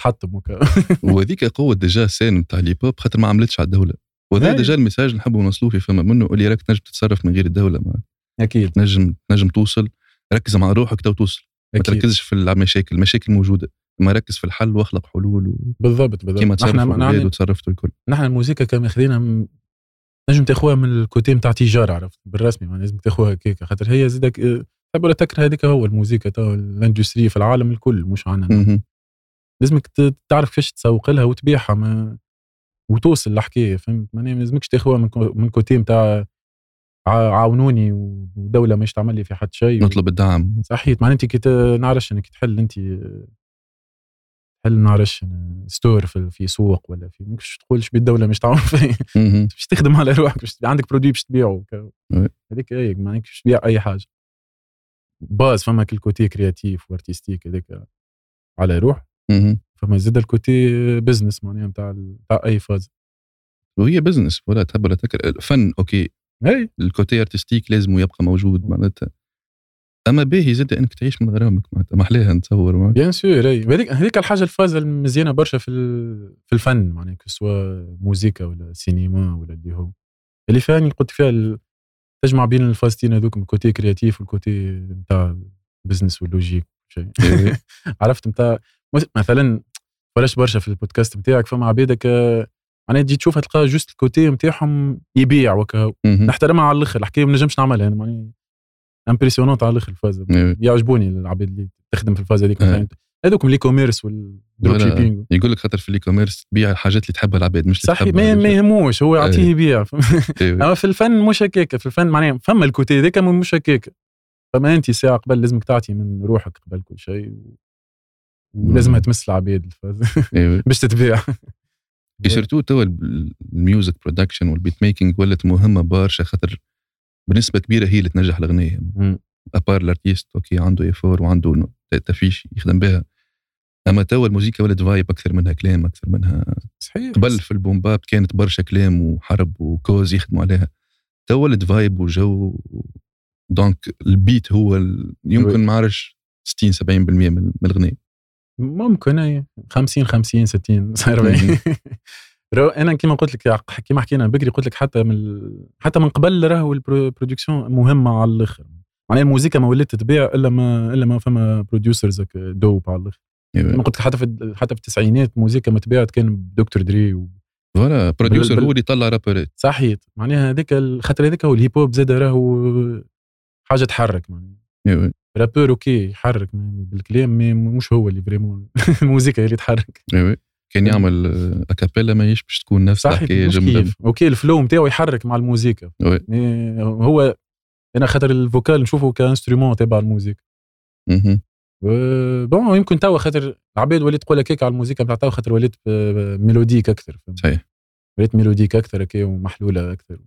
Speaker 1: تحطم وكا [laughs]
Speaker 2: وهذيك قوة ديجا سين نتاع الهيب خاطر ما عملتش على الدولة وهذا
Speaker 1: أي.
Speaker 2: ديجا المساج اللي نحبوا نوصلوه في فما منه اللي راك تنجم تتصرف من غير الدولة ما
Speaker 1: اكيد
Speaker 2: تنجم تنجم توصل ركز مع روحك تو توصل ما
Speaker 1: اكيد
Speaker 2: تركزش في المشاكل المشاكل موجودة ما ركز في الحل واخلق حلول و-
Speaker 1: بالضبط
Speaker 2: كيما
Speaker 1: بالضبط
Speaker 2: تصرفوا الولاد
Speaker 1: نحن
Speaker 2: وتصرفتوا الكل
Speaker 1: نحن الموسيقى كان ماخذينها من- نجم تاخوها من الكوتي نتاع تجاره عرفت بالرسمي يعني لازم تاخوها هكاك خاطر هي زيدك آه، تحب ولا تكره هذيك هو الموسيقى تو الاندستري في العالم الكل مش عنا
Speaker 2: مهم.
Speaker 1: لازمك ت- تعرف كيفاش تسوق لها وتبيعها ما وتوصل الحكايه فهمت معناها ما لازمكش تاخوها من كو- من كوتي نتاع عا- عاونوني ودوله مش تعمل لي في حد شيء
Speaker 2: نطلب الدعم
Speaker 1: صحيت معناها انت كي ت- نعرفش انك تحل انت تحل نعرفش ستور في, في سوق ولا في مش تقول شبي الدوله مش [laughs] تعاون فيه
Speaker 2: مهم.
Speaker 1: باش تخدم على روحك باش عندك برودوي باش تبيعه ك-
Speaker 2: وي.
Speaker 1: هذيك اي معناك باش تبيع اي حاجه باز فما كل كوتي كرياتيف وارتستيك هذاك على روح
Speaker 2: مهم.
Speaker 1: فما زاد الكوتي بزنس معناها نتاع نتاع اي فاز
Speaker 2: وهي بزنس ولا تهب ولا تكر الفن اوكي
Speaker 1: اي
Speaker 2: الكوتي ارتستيك لازم يبقى موجود معناتها اما باهي زاد انك تعيش من غرامك معناتها محلاها نتصور معناتها
Speaker 1: بيان سور اي هذيك هذيك الحاجه الفازه المزيانه برشا في ال- في الفن معناها سواء موزيكا ولا سينما ولا اللي هو اللي فيها اللي قلت فيها ال- تجمع بين الفازتين هذوك الكوتي كرياتيف والكوتي نتاع بزنس واللوجيك شيء
Speaker 2: إيه.
Speaker 1: [laughs] عرفت نتاع مس- مثلا بلاش برشا في البودكاست نتاعك فما عبيدك معناها تجي تشوفها تلقى جوست الكوتي نتاعهم يبيع وكا
Speaker 2: مهم.
Speaker 1: نحترمها على الاخر الحكايه ما نجمش نعملها انا معناها امبرسيونونت على الاخر الفازه
Speaker 2: إيه.
Speaker 1: يعجبوني العباد اللي تخدم في الفازه هذيك
Speaker 2: إيه.
Speaker 1: مثلا. هذوكم لي كوميرس والدروب
Speaker 2: ولا-
Speaker 1: شيبينغ
Speaker 2: يقول لك خاطر في الاي كوميرس تبيع الحاجات اللي تحبها العباد مش اللي
Speaker 1: صحيح
Speaker 2: تحبها
Speaker 1: ما ما
Speaker 2: الرجال.
Speaker 1: يهموش هو يعطيه
Speaker 2: إيه.
Speaker 1: يبيع
Speaker 2: إيه.
Speaker 1: اما في الفن مش هكاك في الفن معناها فما الكوتي هذاك مو- مش هكاك فما انت ساعه قبل لازمك تعطي من روحك قبل كل شيء و- ولازمها
Speaker 2: مم.
Speaker 1: تمس العباد الفازه
Speaker 2: إيه.
Speaker 1: [laughs] باش تتباع
Speaker 2: سيرتو توا ال- الميوزك برودكشن والبيت ميكينج ولات مهمه برشا خاطر بنسبه كبيره هي اللي تنجح الاغنيه
Speaker 1: مم.
Speaker 2: ابار الارتيست اوكي عنده ايفور وعنده ن- ت- تفيش يخدم بها اما توا الموسيقى ولات فايب اكثر منها كلام اكثر منها
Speaker 1: صحيح
Speaker 2: قبل في البومباب كانت برشا كلام وحرب وكوز يخدموا عليها توا ولات فايب وجو دونك البيت هو ال... يمكن ما عرفش 60 70% من من الاغنيه
Speaker 1: ممكن إيه. اي 50 50 [laughs] 60
Speaker 2: مم.
Speaker 1: 40 رو انا كيما قلت لك يا- كيما حكينا بكري قلت لك حتى من ال- حتى من قبل راهو البرودكسيون مهمه على الاخر معناها الموسيقى ما ولات تبيع الا ما الا ما فما بروديوسرز دوب على الاخر انا قلت لك حتى في حتى في التسعينات موسيقى ما تبيعت كان بدكتور دري و...
Speaker 2: فوالا بروديوسر
Speaker 1: بال-
Speaker 2: هو اللي طلع رابرات
Speaker 1: صحيت معناها هذاك ال- خاطر هذاك هو الهيب هوب زاد راهو حاجه تحرك معناها
Speaker 2: إيوه.
Speaker 1: رابور اوكي يحرك م- بالكلام مي مش هو اللي فريمون [laughs] الموسيقى هي اللي تحرك
Speaker 2: إيوه. كان يعمل آه، اكابيلا ماهيش باش تكون نفس
Speaker 1: صحيح
Speaker 2: الحكايه
Speaker 1: مش
Speaker 2: جمله
Speaker 1: كيف اوكي الفلو نتاعو يحرك مع الموسيقى
Speaker 2: وي.
Speaker 1: مي هو انا خاطر الفوكال نشوفه كانسترومون تبع الموسيقى
Speaker 2: مهم.
Speaker 1: و- بون يمكن توا خاطر العباد وليت تقول هكاك على الموسيقى نتاع توا خاطر وليت ب- ميلوديك اكثر فهمت؟
Speaker 2: صحيح.
Speaker 1: وليت ميلوديك اكثر هكا ومحلوله اكثر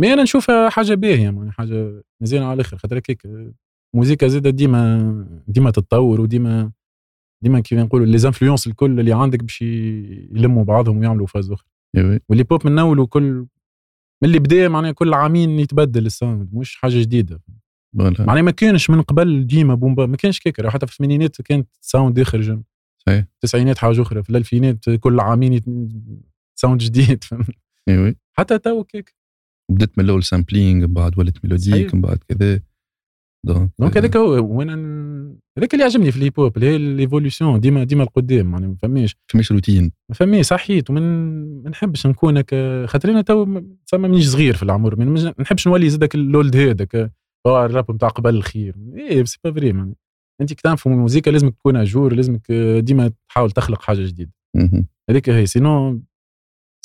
Speaker 1: مي انا نشوفها حاجه باهيه يعني حاجه مزيانه على الاخر خاطر هكاك آه، الموسيقى زاده ديما ديما تتطور وديما ديما كيف نقولوا لي زانفلونس الكل اللي عندك باش يلموا بعضهم ويعملوا فاز اخرى
Speaker 2: إيوه.
Speaker 1: واللي بوب من اول وكل من اللي بدا معناها كل عامين يتبدل الساوند مش حاجه جديده
Speaker 2: فوالا
Speaker 1: معناها ما كانش من قبل ديما بومبا ما كانش كيكر حتى في الثمانينات كانت ساوند يخرج
Speaker 2: صحيح.
Speaker 1: التسعينات حاجه اخرى في الالفينات كل عامين يت- ساوند جديد فهمت
Speaker 2: إيوه.
Speaker 1: حتى تو كيك
Speaker 2: بدات من الاول سامبلينغ من بعد ولات ميلوديك
Speaker 1: صحيح.
Speaker 2: من بعد كذا دونك
Speaker 1: دونك هذاك هو وانا هذاك اللي عجبني في الهيب هوب اللي هي ليفولوسيون ديما ديما القدام يعني ما فماش
Speaker 2: euh، فماش روتين
Speaker 1: ما فماش صحيت ومن ما نحبش نكون هكا خاطر انا تو م- تسمى مانيش صغير في العمر ما نج- ما نحبش نولي زادك اللولد هذاك اه الراب نتاع قبل الخير ايه سي با فري يعني انت كي تعرف الموسيقى لازمك تكون اجور لازمك آه، ديما تحاول تخلق حاجه جديده
Speaker 2: مهم.
Speaker 1: هذيك هي سينو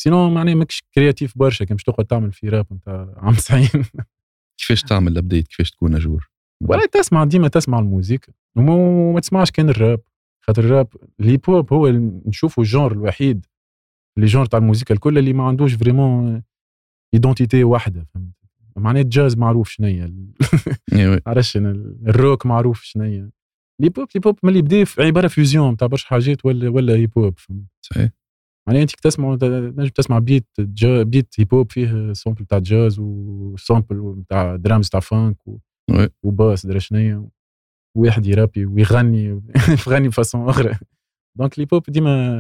Speaker 1: سينو معناها ماكش كرياتيف برشا كي باش تقعد تعمل في راب نتاع عام 90
Speaker 2: كيفاش
Speaker 1: آه.
Speaker 2: تعمل الابديت كيفاش تكون اجور
Speaker 1: ولا تسمع ديما تسمع الموزيك وما وما تسمعش كان الراب خاطر الراب الهيب هوب هو ال- نشوفه الجونر الوحيد اللي جونر تاع الموزيكا الكل اللي ما عندوش فريمون ايدونتيتي واحده فهمت معناها الجاز معروف شنيا
Speaker 2: إيوه.
Speaker 1: عرفش أنا الروك معروف شنيا الهيب هوب الهيب هوب ملي بدا ف- عباره فيوزيون تاع برشا حاجات ولا ولا هيب هوب فهمت
Speaker 2: صحيح
Speaker 1: معناها انت كي تسمع نجم تسمع بيت جا بيت هيب هوب فيه سامبل تاع جاز وسامبل تاع درامز تاع فانك و...
Speaker 2: وي.
Speaker 1: وباس درا شنيا واحد يرابي ويغني يغني [laughs] بفاسون اخرى دونك الهيب هوب ديما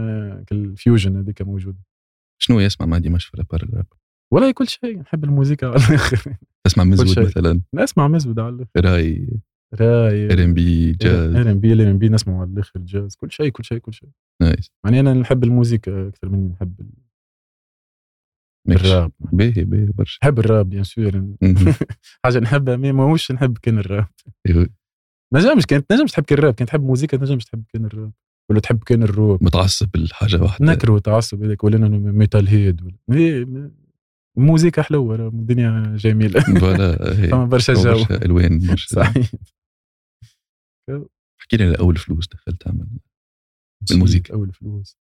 Speaker 1: الفيوجن هذيك موجوده
Speaker 2: شنو يسمع ما ديماش في الابار الراب
Speaker 1: ولا كل شيء نحب الموسيقى [laughs] على الاخر
Speaker 2: تسمع مزود
Speaker 1: شيء. إيه.
Speaker 2: مثلا
Speaker 1: نسمع مزود على الاخر
Speaker 2: راي
Speaker 1: راي
Speaker 2: ار ام
Speaker 1: إيه.
Speaker 2: بي جاز
Speaker 1: ار ام بي ار ام بي نسمعوا على الاخر جاز كل شيء كل شيء كل شيء
Speaker 2: نايس
Speaker 1: يعني انا نحب الموسيقى اكثر مني نحب ال-
Speaker 2: ماكش.
Speaker 1: الراب
Speaker 2: باهي باهي برشا
Speaker 1: نحب الراب بيان سور
Speaker 2: مهم.
Speaker 1: [laughs] حاجه نحبها مي ماهوش نحب كان الراب
Speaker 2: إيوه.
Speaker 1: نجمش كانت نجمش تحب كان الراب كانت تحب موسيقى نجمش تحب كان الراب ولا تحب كان الروك
Speaker 2: متعصب لحاجه واحده
Speaker 1: نكر وتعصب هذاك ولا انا ميتال هيد ولا إيه، ما- الموزيكا حلوه راه الدنيا جميله
Speaker 2: [laughs] فوالا هي.
Speaker 1: فما برشا جو
Speaker 2: إيه، برشا الوان برشا
Speaker 1: [laughs] صحيح
Speaker 2: احكي لي على اول فلوس دخلتها من بالموسيقى.
Speaker 1: اول فلوس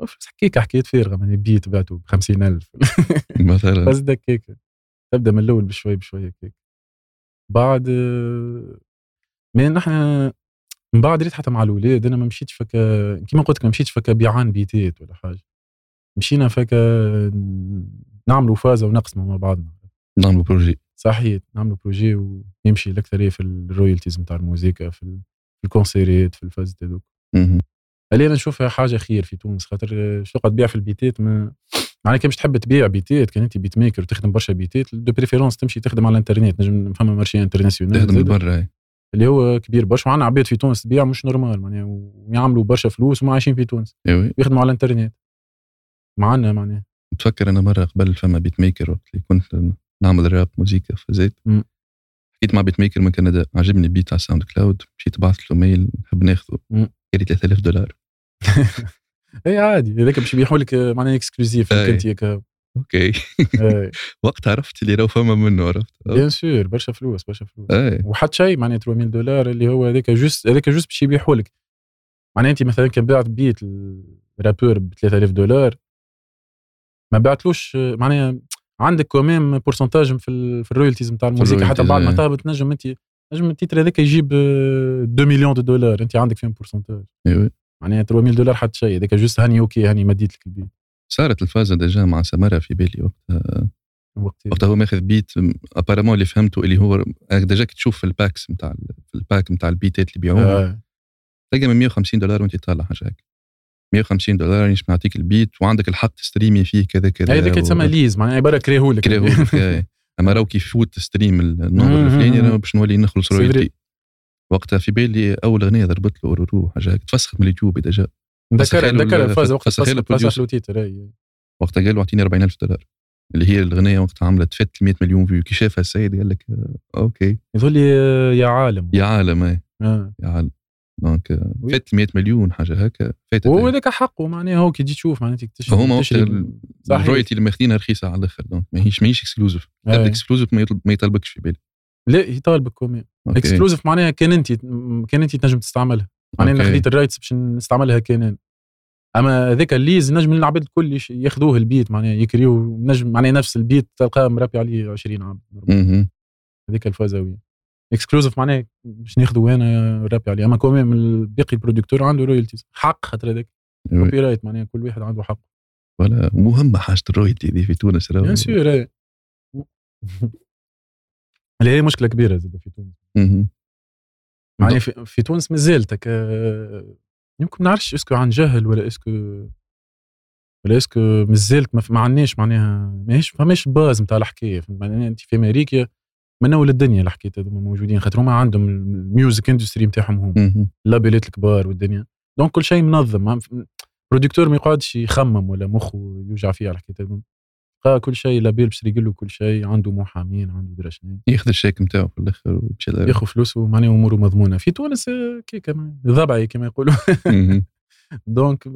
Speaker 1: أول فلوس حكيك حكيت فارغه ماني بيت بعته ب 50000
Speaker 2: مثلا
Speaker 1: بس دك هيك تبدا من الاول بشوي بشوي هيك بعد آه، ما نحن من بعد ريت حتى مع الاولاد انا ما مشيتش فكا كيما قلت لك ما مشيتش فكا بيعان بيتات ولا حاجه مشينا فكا نعملوا فازه ونقسموا مع بعضنا
Speaker 2: نعمل بروجي
Speaker 1: صحيح نعملوا بروجي ويمشي الاكثريه في الرويالتيز نتاع الموسيقى في ال- في الكونسيرات في الفازات هذوك
Speaker 2: مهم.
Speaker 1: اللي انا نشوفها حاجه خير في تونس خاطر آه، شو قد تبيع في البيتات ما معناها كان مش تحب تبيع بيتات كان انت بيت ميكر وتخدم برشا بيتات دو بريفيرونس تمشي تخدم على الانترنت نجم فما مارشي
Speaker 2: تخدم
Speaker 1: انترناسيونال
Speaker 2: لبرا
Speaker 1: اللي هو كبير برشا وعندنا عباد في تونس تبيع مش نورمال معناها ويعملوا برشا فلوس وما عايشين في تونس
Speaker 2: ايوه
Speaker 1: يخدموا على الانترنت معنا معناها
Speaker 2: تفكر انا مره قبل فما بيت ميكر وقت اللي كنت نعمل راب موسيقى فزيت
Speaker 1: مم.
Speaker 2: حكيت مع بيت ميكر من كندا عجبني بيت على ساوند كلاود مشيت بعثت له ميل نحب ناخذه
Speaker 1: مم.
Speaker 2: كاري 3000 دولار
Speaker 1: اي إيه، عادي هذاك باش يبيعوا لك آه، معناها اكسكلوزيف
Speaker 2: أي.
Speaker 1: انت هيك إيه،
Speaker 2: اوكي [laughs] وقت عرفت اللي راهو فما منه عرفت إيه.
Speaker 1: بيان سور برشا فلوس برشا فلوس
Speaker 2: اي
Speaker 1: وحتى شيء معناها 3000 دولار اللي هو هذاك جوست هذاك جوست باش يبيعوا لك معناها انت مثلا كان بعت بيت الرابور ب 3000 دولار ما بعتلوش معناها عندك كوميم بورسنتاج في ال- في الرويالتيز نتاع الموسيقى حتى
Speaker 2: الرويالتيز،
Speaker 1: بعد ما
Speaker 2: آه.
Speaker 1: تهبط نجم انت نجم التيتر هذاك يجيب آه، 2 مليون دو دولار انت عندك فيهم بورسنتاج
Speaker 2: إيوه.
Speaker 1: معناها 3000 دولار حتى شيء هذاك جوست هاني اوكي هاني مديت لك البيت
Speaker 2: صارت الفازه ديجا مع سمره في بالي وقتها
Speaker 1: وقتها
Speaker 2: وقتها هو ماخذ بيت ابارامون اللي فهمته اللي هو ديجا كي تشوف في الباكس نتاع في الباك نتاع البيتات اللي بيعوها
Speaker 1: آه،
Speaker 2: تلقى من 150 دولار وانت طالع حاجه هيك 150 دولار يعني نعطيك البيت وعندك الحق تستريمي فيه كذا كذا
Speaker 1: هذاك يتسمى ليز معناها عباره كرهولك
Speaker 2: كرهولك إيه. اما راهو كي يفوت تستريم النمبر
Speaker 1: مم.
Speaker 2: الفلاني راهو باش نولي نخلص
Speaker 1: سي فري.
Speaker 2: رويالتي وقتها في بالي اول اغنيه ضربت له اورورو حاجه هيك تفسخت من اليوتيوب ديجا
Speaker 1: نذكر
Speaker 2: فسخيلو
Speaker 1: نذكر
Speaker 2: ال-
Speaker 1: الفاز وقت
Speaker 2: فسخيلو
Speaker 1: فسخ- فسخ
Speaker 2: producer.
Speaker 1: له تيتر أي.
Speaker 2: وقتها قال له اعطيني 40000 دولار اللي هي الاغنيه وقتها عملت فات 100 مليون فيو كي شافها السيد قال لك آه، اوكي
Speaker 1: يظهر لي آه، يا عالم
Speaker 2: يا عالم إيه،
Speaker 1: آه.
Speaker 2: يا عالم دونك آه، فات 100 مليون حاجه هكا فاتت
Speaker 1: وهو
Speaker 2: إيه.
Speaker 1: هذاك حقه معناها هو كي تجي تشوف معناها تكتشف
Speaker 2: فهما وقت
Speaker 1: تشري-
Speaker 2: ال-
Speaker 1: صحيح.
Speaker 2: الرويالتي اللي ماخذينها رخيصه على الاخر دونك ماهيش ماهيش اكسكلوزيف
Speaker 1: آه.
Speaker 2: اكسكلوزيف ما يطلب- ما يطلبكش في بالك
Speaker 1: لا يطالبك كومي
Speaker 2: أوكي.
Speaker 1: اكسكلوزيف معناها كان انت كان انت تنجم تستعملها معناها انا
Speaker 2: أوكي.
Speaker 1: خديت الرايتس باش نستعملها كان أنا. اما هذاك الليز نجم العباد الكل يش- ياخذوه البيت معناها يكريوه نجم معناها نفس البيت تلقاه مرابي عليه 20 عام
Speaker 2: مهم.
Speaker 1: هذيك الفازاوية اكسكلوزيف معناها باش ناخذه انا رابي عليه اما كومي من باقي البرودكتور عنده رويالتيز حق خاطر هذاك
Speaker 2: إيوه.
Speaker 1: كوبي رايت معناها كل واحد عنده حق
Speaker 2: ولا مهمه حاجه الرويالتي دي في تونس راهو
Speaker 1: بيان سور إيه. [laughs] اللي هي مشكله كبيره زاد في تونس
Speaker 2: مهم.
Speaker 1: معناها في, في تونس مازالت هكا، آه، يمكن ما نعرفش اسكو عن جهل ولا اسكو ولا اسكو مازالت ما ف- ما عندناش معناها ماهيش فماش باز نتاع الحكايه فهمت؟ معناها انت في امريكا من اول الدنيا الحكايه هذوما موجودين خاطر هما عندهم الميوزك اندستري نتاعهم هما
Speaker 2: مهم.
Speaker 1: اللابيلات الكبار والدنيا دونك كل شيء منظم ما- برودكتور ما يقعدش يخمم ولا مخه يوجع فيه على الحكايه هذوما. بقى كل شيء لابيل باش يقول كل شيء عنده محامين عنده درا شنو
Speaker 2: ياخذ الشيك نتاعو في الاخر ويمشي
Speaker 1: ياخذ فلوسه معناها اموره مضمونه في تونس آه، كي كمان ضبعي كما يقولوا [laughs] دونك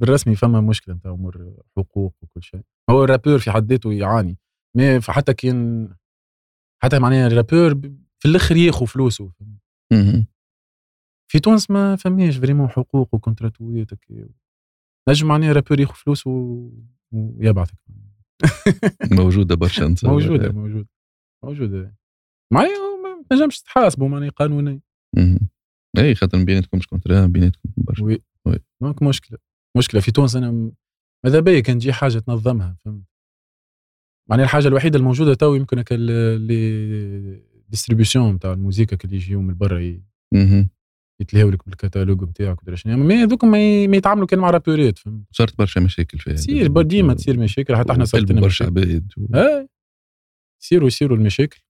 Speaker 1: بالرسمي فما مشكله نتاع امور حقوق وكل شيء هو الرابور في حد ذاته يعاني مي حتى كان حتى معناها الرابور ب- في الاخر ياخذ فلوسه في تونس ما فماش فريمون حقوق وكونتراتويات هكا. نجم معناها رابور ياخذ فلوسه و- ويبعثك
Speaker 2: موجوده برشا نتصور.
Speaker 1: موجوده موجوده موجوده معايا ما تنجمش تحاسبوا معناها قانوني
Speaker 2: مهم. اي خاطر بيناتكم مش كونترا بيناتكم برشا
Speaker 1: وي
Speaker 2: وي.
Speaker 1: دونك مشكله مشكله في تونس انا م- ماذا بيا كان تجي حاجه تنظمها فهمت معناها الحاجه الوحيده الموجوده تو يمكن هكا ال- لي ديستريبيسيون تاع الموزيكا كي يجيو من برا ي-
Speaker 2: مهم.
Speaker 1: يتلهوا لك بالكتالوج نتاعك ودرا شنو أما ما هذوك ما ي- ما يتعاملوا كان مع رابوريت فهمت
Speaker 2: صارت برشا مشاكل فيها
Speaker 1: تصير بر- ديما تصير مشاكل حتى احنا صارت لنا
Speaker 2: برشا
Speaker 1: مشاكل
Speaker 2: عباد و...
Speaker 1: آه. يصيروا يصيروا المشاكل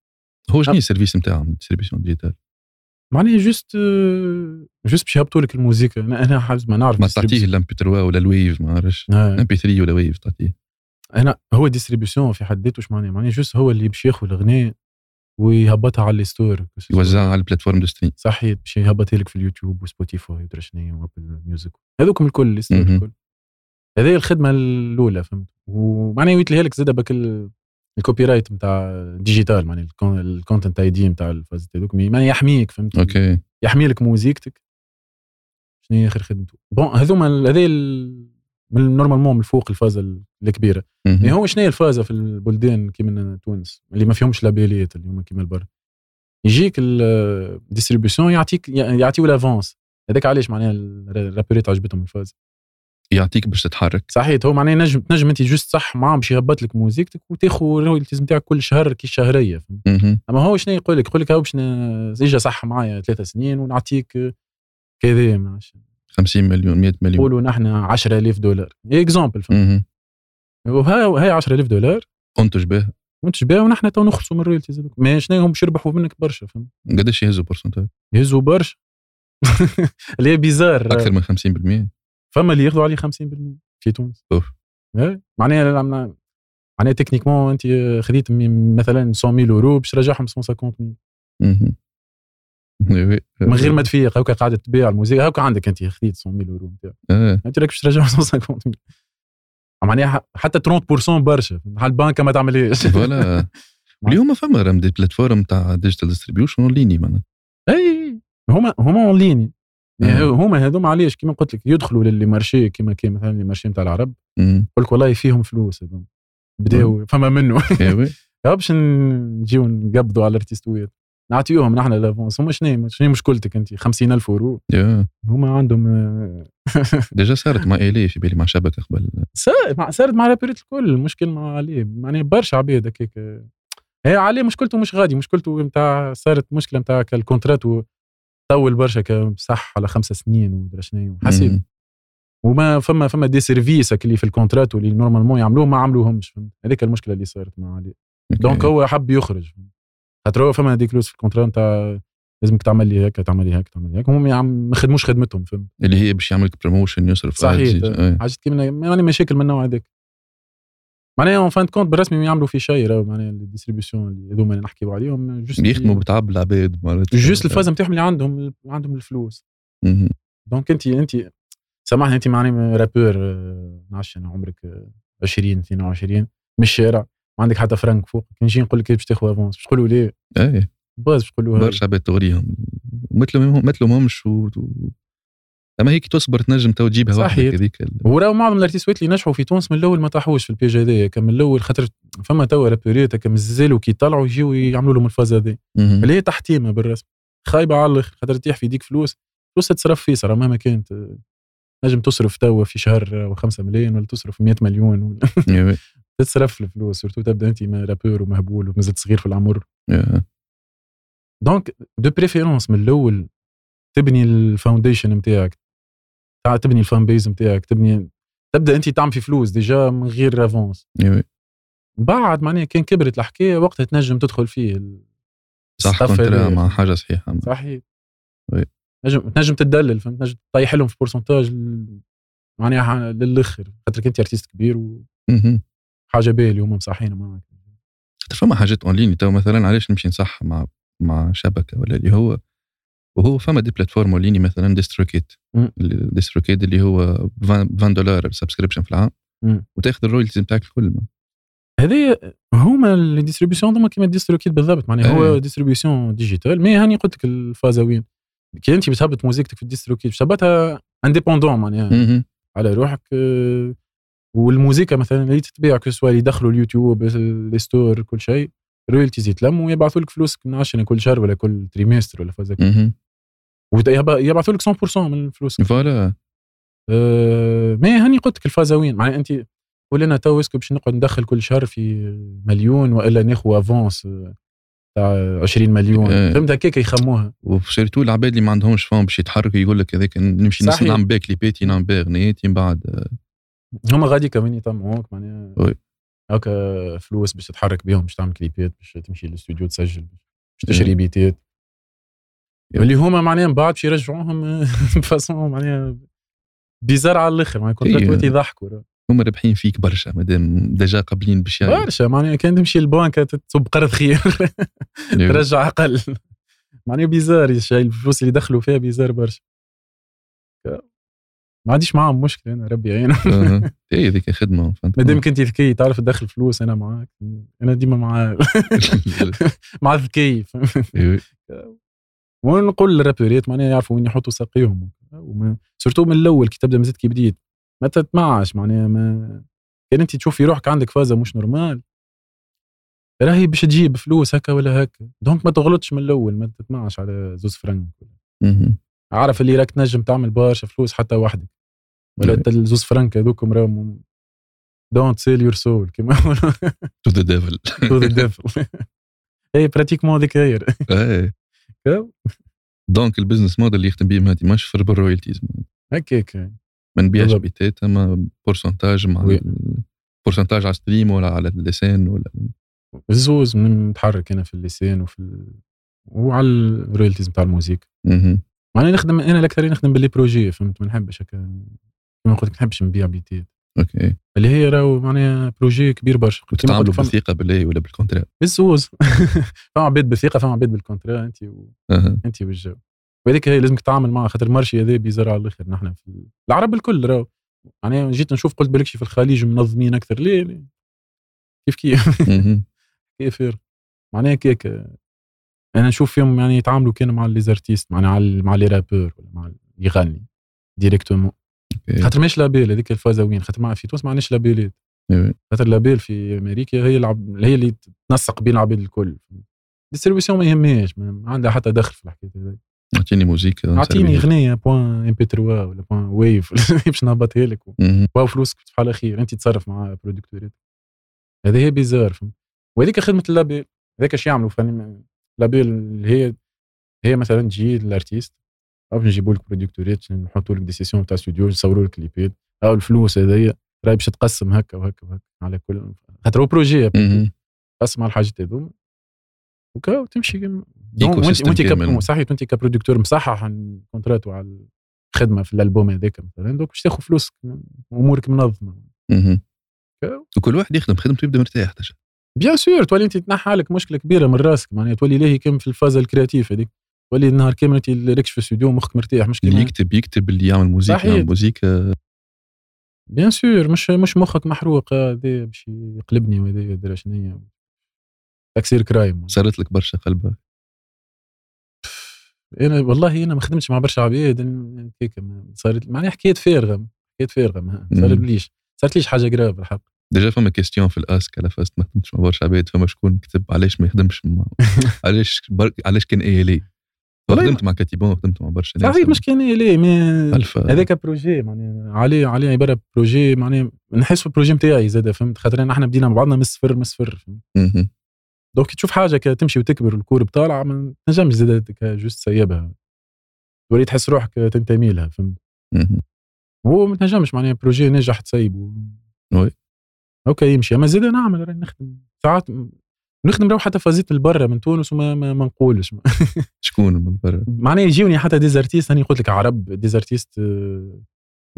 Speaker 2: هو
Speaker 1: أه.
Speaker 2: شنو السيرفيس نتاعهم الديستريبيسيون ديجيتال
Speaker 1: معناها جوست جوست باش يهبطوا لك الموزيكا انا انا حاجز ما نعرف
Speaker 2: ما تعطيه الامبي 3 ولا الويف ما عرفش
Speaker 1: آه.
Speaker 2: امبي 3 ولا ويف تعطيه
Speaker 1: انا هو ديستريبيسيون في حد ذاته اش معناه معناه جوست هو اللي باش ياخذ الاغنيه ويهبطها على الستور
Speaker 2: يوزعها على البلاتفورم دو ستريم
Speaker 1: صحيح باش يهبطها لك في اليوتيوب وسبوتيفاي ودرا شنو وابل ميوزك هذوكم الكل الستور
Speaker 2: مهم.
Speaker 1: الكل هذه هي الخدمه الاولى فهمت ومعناها ويتلهي لك زاد بك ال- الكوبي رايت نتاع ديجيتال معناها الكون- الكونتنت اي دي نتاع الفاز هذوك مي- معناها يحميك فهمت
Speaker 2: اوكي
Speaker 1: يحمي لك موزيكتك شنو هي اخر خدمته بون هذوما ال- هذا ال- من نورمالمون من فوق الفازه ال- الكبيره
Speaker 2: مهم.
Speaker 1: يعني هو شنو هي الفازه في البلدان كيما تونس اللي ما فيهمش لابيليات اللي هما كيما البر يجيك الديستريبيسيون يعطيك يعطيو لافونس هذاك علاش معناها الرابوريت عجبتهم الفاز
Speaker 2: يعطيك باش تتحرك
Speaker 1: صحيت هو معناها نجم تنجم انت جوست صح معاه باش يهبط لك موزيكتك وتاخذ الرويالتيز نتاعك كل شهر كي الشهريه فهمت؟
Speaker 2: مهم.
Speaker 1: اما هو شنو يقول لك يقول لك هاو باش ن- اجا صح معايا ثلاثة سنين ونعطيك كذا ما عرفش.
Speaker 2: 50 مليون 100 مليون
Speaker 1: نقولوا نحن 10000 دولار اكزامبل فهمت؟
Speaker 2: مهم.
Speaker 1: وهاي هاي 10000 دولار
Speaker 2: انتج به
Speaker 1: وانت شباب ونحن تو نخلصوا من الرويالتيز هذوك ما شنو هم باش يربحوا منك برشا فهمت
Speaker 2: قداش يهزوا بورسنتاج
Speaker 1: يهزوا برشا [laughs] اللي هي بيزار
Speaker 2: اكثر من 50%
Speaker 1: فما اللي ياخذوا عليه 50% في تونس
Speaker 2: أوف.
Speaker 1: إيه. معناها معناها- معناها تكنيكمون انت خذيت من- مثلا 100000 يورو باش ترجعهم 150000
Speaker 2: مهم. إي وي.
Speaker 1: من غير ما
Speaker 2: [laughs]
Speaker 1: تفيق هكا قاعده تبيع الموسيقى هكا عندك انت خذيت 100000 يورو نتاعك
Speaker 2: آه.
Speaker 1: انت راك باش [laughs] ترجعهم 150000 معناها يعني ح- حتى 30% برشا على البنك ما تعملهاش [laughs]
Speaker 2: فوالا اليوم فما رام دي بلاتفورم تاع ديجيتال ديستريبيوشن اون ليني معناها
Speaker 1: اي إيه، هما هما اون ليني يعني
Speaker 2: آه.
Speaker 1: هما هذوما علاش كيما قلت لك يدخلوا للي مارشي كيما كي مثلا اللي مارشي نتاع العرب
Speaker 2: مم.
Speaker 1: يقول لك والله فيهم فلوس هذوما
Speaker 2: آه.
Speaker 1: بداو فما منه [laughs]
Speaker 2: إي إيه وي.
Speaker 1: يا باش نجيو نقبضوا على الارتيستويات نعطيوهم نحن لافونس هما شنو شنو مشكلتك انت 50000 يورو
Speaker 2: يا.
Speaker 1: هما عندهم آه،
Speaker 2: إيه ديجا صارت مع الي في بالي مع شبكه قبل
Speaker 1: صار- مع- صارت مع رابيريت الكل المشكل مع عليه معناها برشا عباد هكاك آه. هي عليه مشكلته مش غادي مشكلته نتاع صارت مشكله نتاع كالكونترات طول برشا ك- صح على خمسة سنين ومدري شنو حسيت
Speaker 2: مم.
Speaker 1: وما فما فما دي سيرفيس هك اللي في الكونترات واللي نورمالمون يعملوه ما عملوهمش فهمت هذيك المشكله اللي صارت مع علي
Speaker 2: أوكي.
Speaker 1: دونك هو حب يخرج خاطر هو فما دي كلوز في الكونترا نتاع لازمك تعمل لي هكا تعمل لي هكا تعمل لي هكا هم يا عم ما خدموش خدمتهم فهمت
Speaker 2: اللي هي باش يعمل لك بروموشن يصرف إيه.
Speaker 1: صحيح.
Speaker 2: على الجيل. إي.
Speaker 1: حاجات كيما يعني مشاكل من النوع هذاك معناها اون فان كونت بالرسمي ما يعملوا في شيء راهو معناها الديستريبيسيون اللي هذوما اللي نحكيو عليهم جوست
Speaker 2: يخدموا بتعب العباد معناتها
Speaker 1: جوست الفاز نتاعهم اللي عندهم عندهم الفلوس
Speaker 2: مهم.
Speaker 1: دونك انت انت سامحني انت معني رابور آه، نعرفش انا عمرك آه، 20 22 من الشارع ما عندك حتى فرنك فوق كي نجي نقول لك باش تاخذ افونس باش تقولوا لي
Speaker 2: اي
Speaker 1: باز باش تقولوا هاي.
Speaker 2: برشا عباد تغريهم مثلهم مثلهمش و... و... اما هيك تصبر تنجم تو تجيبها
Speaker 1: صحيح.
Speaker 2: وحدك هذيك ال-
Speaker 1: وراو معظم الارتيسويت اللي نجحوا في تونس من الاول ما طاحوش في البيج هذايا كان من الاول خاطر فما توا رابوريات هكا مازالوا كي طلعوا يجيو يعملوا لهم الفاز هذي
Speaker 2: مهم.
Speaker 1: اللي هي تحتيمه بالرسم خايبه على الاخر خاطر تطيح في ديك فلوس فلوس تصرف فيس راه مهما كانت آه، نجم تصرف توا في شهر 5 ملايين ولا تصرف 100 مليون ولا [laughs]
Speaker 2: إي وي.
Speaker 1: تتصرف الفلوس سورتو تبدا انت ما رابور ومهبول ومازلت صغير في العمر
Speaker 2: يا.
Speaker 1: دونك دو بريفيرونس من الاول تبني الفاونديشن نتاعك تاع تبني الفان بيز نتاعك تبني تبدا انت تعمل في فلوس ديجا من غير افونس
Speaker 2: إي وي.
Speaker 1: بعد معناها كان كبرت الحكايه وقتها تنجم تدخل فيه ال-
Speaker 2: صح
Speaker 1: الصف
Speaker 2: كونترا
Speaker 1: هذايا.
Speaker 2: مع حاجه صحيحه
Speaker 1: صحيح
Speaker 2: وي.
Speaker 1: نجم تنجم تدلل فهمت نجم تطيح لهم في بورسنتاج ال- معناها ح- للاخر خاطرك انت ارتيست كبير وحاجه
Speaker 2: مهم.
Speaker 1: باهيه اللي هما مصحين معاك
Speaker 2: خاطر فما حاجات اون لين تو مثلا علاش نمشي نصح مع مع شبكه ولا اللي هو وهو فما دي بلاتفورم اون ليني مثلا ديستروكيت
Speaker 1: مم.
Speaker 2: ديستروكيت اللي هو 20 دولار سبسكريبشن في العام
Speaker 1: مم.
Speaker 2: وتاخذ الرويالتيز نتاعك الكل
Speaker 1: هذه هما الديستريبيسيون هما كيما الديستروكيت بالضبط معناها هو
Speaker 2: إيه.
Speaker 1: ديستريبيسيون ديجيتال مي هاني قلت لك الفازه وين كي انت بتهبط موزيكتك في الديستروكيت باش تهبطها انديبوندون معناها
Speaker 2: مهم.
Speaker 1: على روحك آه، والموزيكا مثلا اللي تتباع كسوا اللي يدخلوا اليوتيوب لي ستور كل شيء رويالتيز يتلموا ويبعثوا لك فلوسك من عشان كل شهر ولا كل تريمستر ولا فازا
Speaker 2: مهم.
Speaker 1: يبعثوا لك 100% من فلوسك
Speaker 2: فوالا
Speaker 1: أه، ما هاني قلت لك الفازوين معناها انت قول لنا تو اسكو باش نقعد ندخل كل شهر في مليون والا ناخذ افونس أه، تاع 20 مليون
Speaker 2: إيه.
Speaker 1: فهمت هكاك يخموها
Speaker 2: وسيرتو العباد اللي ما عندهمش فهم باش يتحركوا يقول لك هذاك نمشي نس-
Speaker 1: صحيح.
Speaker 2: نعمل بيه كليباتي نعمل بيه غنياتي من بعد
Speaker 1: هما غادي كمان يطمعوك معناها
Speaker 2: وي.
Speaker 1: هكا فلوس باش تتحرك بيهم باش تعمل كليبات باش تمشي للاستوديو تسجل باش تشري
Speaker 2: إيه.
Speaker 1: بيتات اللي هما معناها من بعد باش يرجعوهم [laughs] بفاسون معناها بيزار على الاخر معناها كنت
Speaker 2: إيه.
Speaker 1: إيه. يضحكوا راه.
Speaker 2: هما رابحين فيك برشا مادام ديجا قابلين باش يعني-
Speaker 1: برشا معناها كان تمشي للبنك تصب قرض خير
Speaker 2: أيوة.
Speaker 1: ترجع اقل معناها بيزار الشيء الفلوس اللي دخلوا فيها بيزار برشا ما عنديش معاهم مشكله انا ربي يعينهم
Speaker 2: [laughs] أها. اي هذيك خدمه
Speaker 1: [laughs]
Speaker 2: فهمت
Speaker 1: ما دامك انت ذكي تعرف تدخل فلوس انا معاك انا ديما مع [laughs] مع الذكي فهمت؟
Speaker 2: إيوه.
Speaker 1: ونقول للرابوريت معناها يعرفوا وين يحطوا ساقيهم وما سورتو من الاول كي تبدا من زد كي بديت ما تتمعش معناها ما كان انت تشوف في روحك عندك فازه مش نورمال راهي باش تجيب فلوس هكا ولا هكا دونك ما تغلطش من الاول ما تتمعش على زوز فرنك
Speaker 2: مهم.
Speaker 1: عارف اللي راك تنجم تعمل برشا فلوس حتى وحدك
Speaker 2: نعم.
Speaker 1: ولا انت الزوز فرنك هذوكم راهم دونت سيل يور سول كيما يقولوا
Speaker 2: تو ذا [laughs] ديفل
Speaker 1: تو ذا [laughs] ديفل اي براتيكمون هذيك هي
Speaker 2: إيه. دونك البزنس موديل اللي يخدم به مهدي مشفر بالرويالتيز
Speaker 1: [laughs] هكاك
Speaker 2: ما نبيعش
Speaker 1: بالضبط.
Speaker 2: بيتات اما بورسنتاج مع
Speaker 1: وي.
Speaker 2: ال- بورسنتاج على ستريم ولا على اللسان ولا
Speaker 1: زوز من- نتحرك انا في اللسان وفي ال... وعلى الرويالتيز نتاع الموسيقى
Speaker 2: مهم.
Speaker 1: معناها نخدم انا الاكثريه نخدم باللي بروجي فهمت ما نحبش هكا كما قلت لك، ما نحبش نبيع بيتات
Speaker 2: اوكي
Speaker 1: اللي هي راهو معناها بروجي كبير برشا كيما قلت
Speaker 2: وتتعاملوا
Speaker 1: فما-
Speaker 2: بالثقه بالله ولا بالكونترا
Speaker 1: بالزوز [laughs] فما عباد بالثقه فما عباد بالكونترا انت و...
Speaker 2: أها.
Speaker 1: انت والجو وهذيك هي لازمك تتعامل معها خاطر المارشي هذا بيزار على الاخر نحن في العرب الكل راهو يعني جيت نشوف قلت بالكشي في الخليج منظمين اكثر ليه, ليه؟ كيف كيف
Speaker 2: مهم.
Speaker 1: كيف معناها كيك انا نشوف فيهم يعني يتعاملوا كان مع لي زارتيست معناها على ال- مع لي رابور ولا مع اللي يغني ديريكتومون
Speaker 2: أوكي.
Speaker 1: خاطر ماهيش لابيل هذيك الفازه وين خاطر ما في تونس ما عندناش لابيلات
Speaker 2: إيه.
Speaker 1: خاطر لابيل في امريكا هي العب... هي اللي تنسق بين العباد الكل ديستريبيسيون ما يهمهاش ما عندها حتى دخل في الحكايه هذي.
Speaker 2: اعطيني موسيقى
Speaker 1: اعطيني غنيه بوان ام بي 3 ولا بوان ويف [laughs] باش نهبطها لك
Speaker 2: مهم.
Speaker 1: واو فلوسك بحال خير انت تصرف مع برودكتورات هذا هي بيزار فهمت وهذيك خدمه اللابيل هذاك اش يعملوا فني لابيل اللي هي هي مثلا تجي الارتيست او نجيبوا لك برودكتورات نحطوا لك دي سيسيون تاع استوديو نصوروا لك كليبات او الفلوس هذيا راهي باش تقسم هكا وهكا وهكا على كل خاطر هو بروجي
Speaker 2: مهم.
Speaker 1: تقسم على الحاجات هذوما وكا وتمشي كيما-
Speaker 2: إيكو
Speaker 1: وانت
Speaker 2: سيستم
Speaker 1: وانت
Speaker 2: كامل.
Speaker 1: كاب- صحيح وانت كبرودكتور مصحح عن كونتراتو على الخدمه في الالبوم هذاك مثلا دوك باش تاخذ فلوسك امورك منظمه
Speaker 2: مهم.
Speaker 1: أوكي.
Speaker 2: وكل واحد يخدم خدمته يبدا مرتاح تجا
Speaker 1: بيان سور تولي انت تنحى عليك مشكله كبيره من راسك معناها تولي لاهي كامل في الفازه الكرياتيف هذيك تولي النهار كامل انت راكش في الاستوديو مخك مرتاح مش
Speaker 2: اللي
Speaker 1: كيما
Speaker 2: يكتب يكتب اللي يعمل موسيقى
Speaker 1: صحيح.
Speaker 2: يعمل موسيقى
Speaker 1: بيان سور مش مش مخك محروق هذا باش يقلبني وهذا درا شنو هي تكسير كرايم
Speaker 2: صارت لك برشا قلبها
Speaker 1: انا والله انا ما خدمتش مع برشا عباد أنا هيك ما- صارت معناها حكايات فارغه حكايات فارغه ما
Speaker 2: مم.
Speaker 1: صارت ليش صارت ليش حاجه قراب الحق
Speaker 2: ديجا فما كيستيون في الاسك على فاست ما خدمتش مع برشا عباد فما شكون كتب علاش ما يخدمش
Speaker 1: [laughs]
Speaker 2: مع علاش بر... علاش كان اي لي
Speaker 1: والله
Speaker 2: خدمت مع كاتيبون خدمت مع برشا ناس
Speaker 1: صحيح مش كان إيه ليه ما
Speaker 2: الف
Speaker 1: هذاك بروجي معناها عليه عليه عباره بروجي معناها نحس البروجي نتاعي زاد فهمت خاطر احنا بدينا مع بعضنا من الصفر من الصفر فهمت؟
Speaker 2: مهم.
Speaker 1: دونك كي تشوف حاجه كا تمشي وتكبر والكور طالعه ما تنجمش زاد جوست سيبها تولي تحس روحك تنتمي لها فهمت
Speaker 2: مهم.
Speaker 1: هو ما تنجمش معناها بروجي نجح تسيبه
Speaker 2: وي.
Speaker 1: اوكي يمشي اما زاد نعمل راني نخدم ساعات م- نخدم رو حتى فازيت لبرا من تونس وما ما, ما نقولش
Speaker 2: شكون من برا
Speaker 1: معناها يجيوني حتى ديزارتيست هاني قلت لك عرب ديزارتيست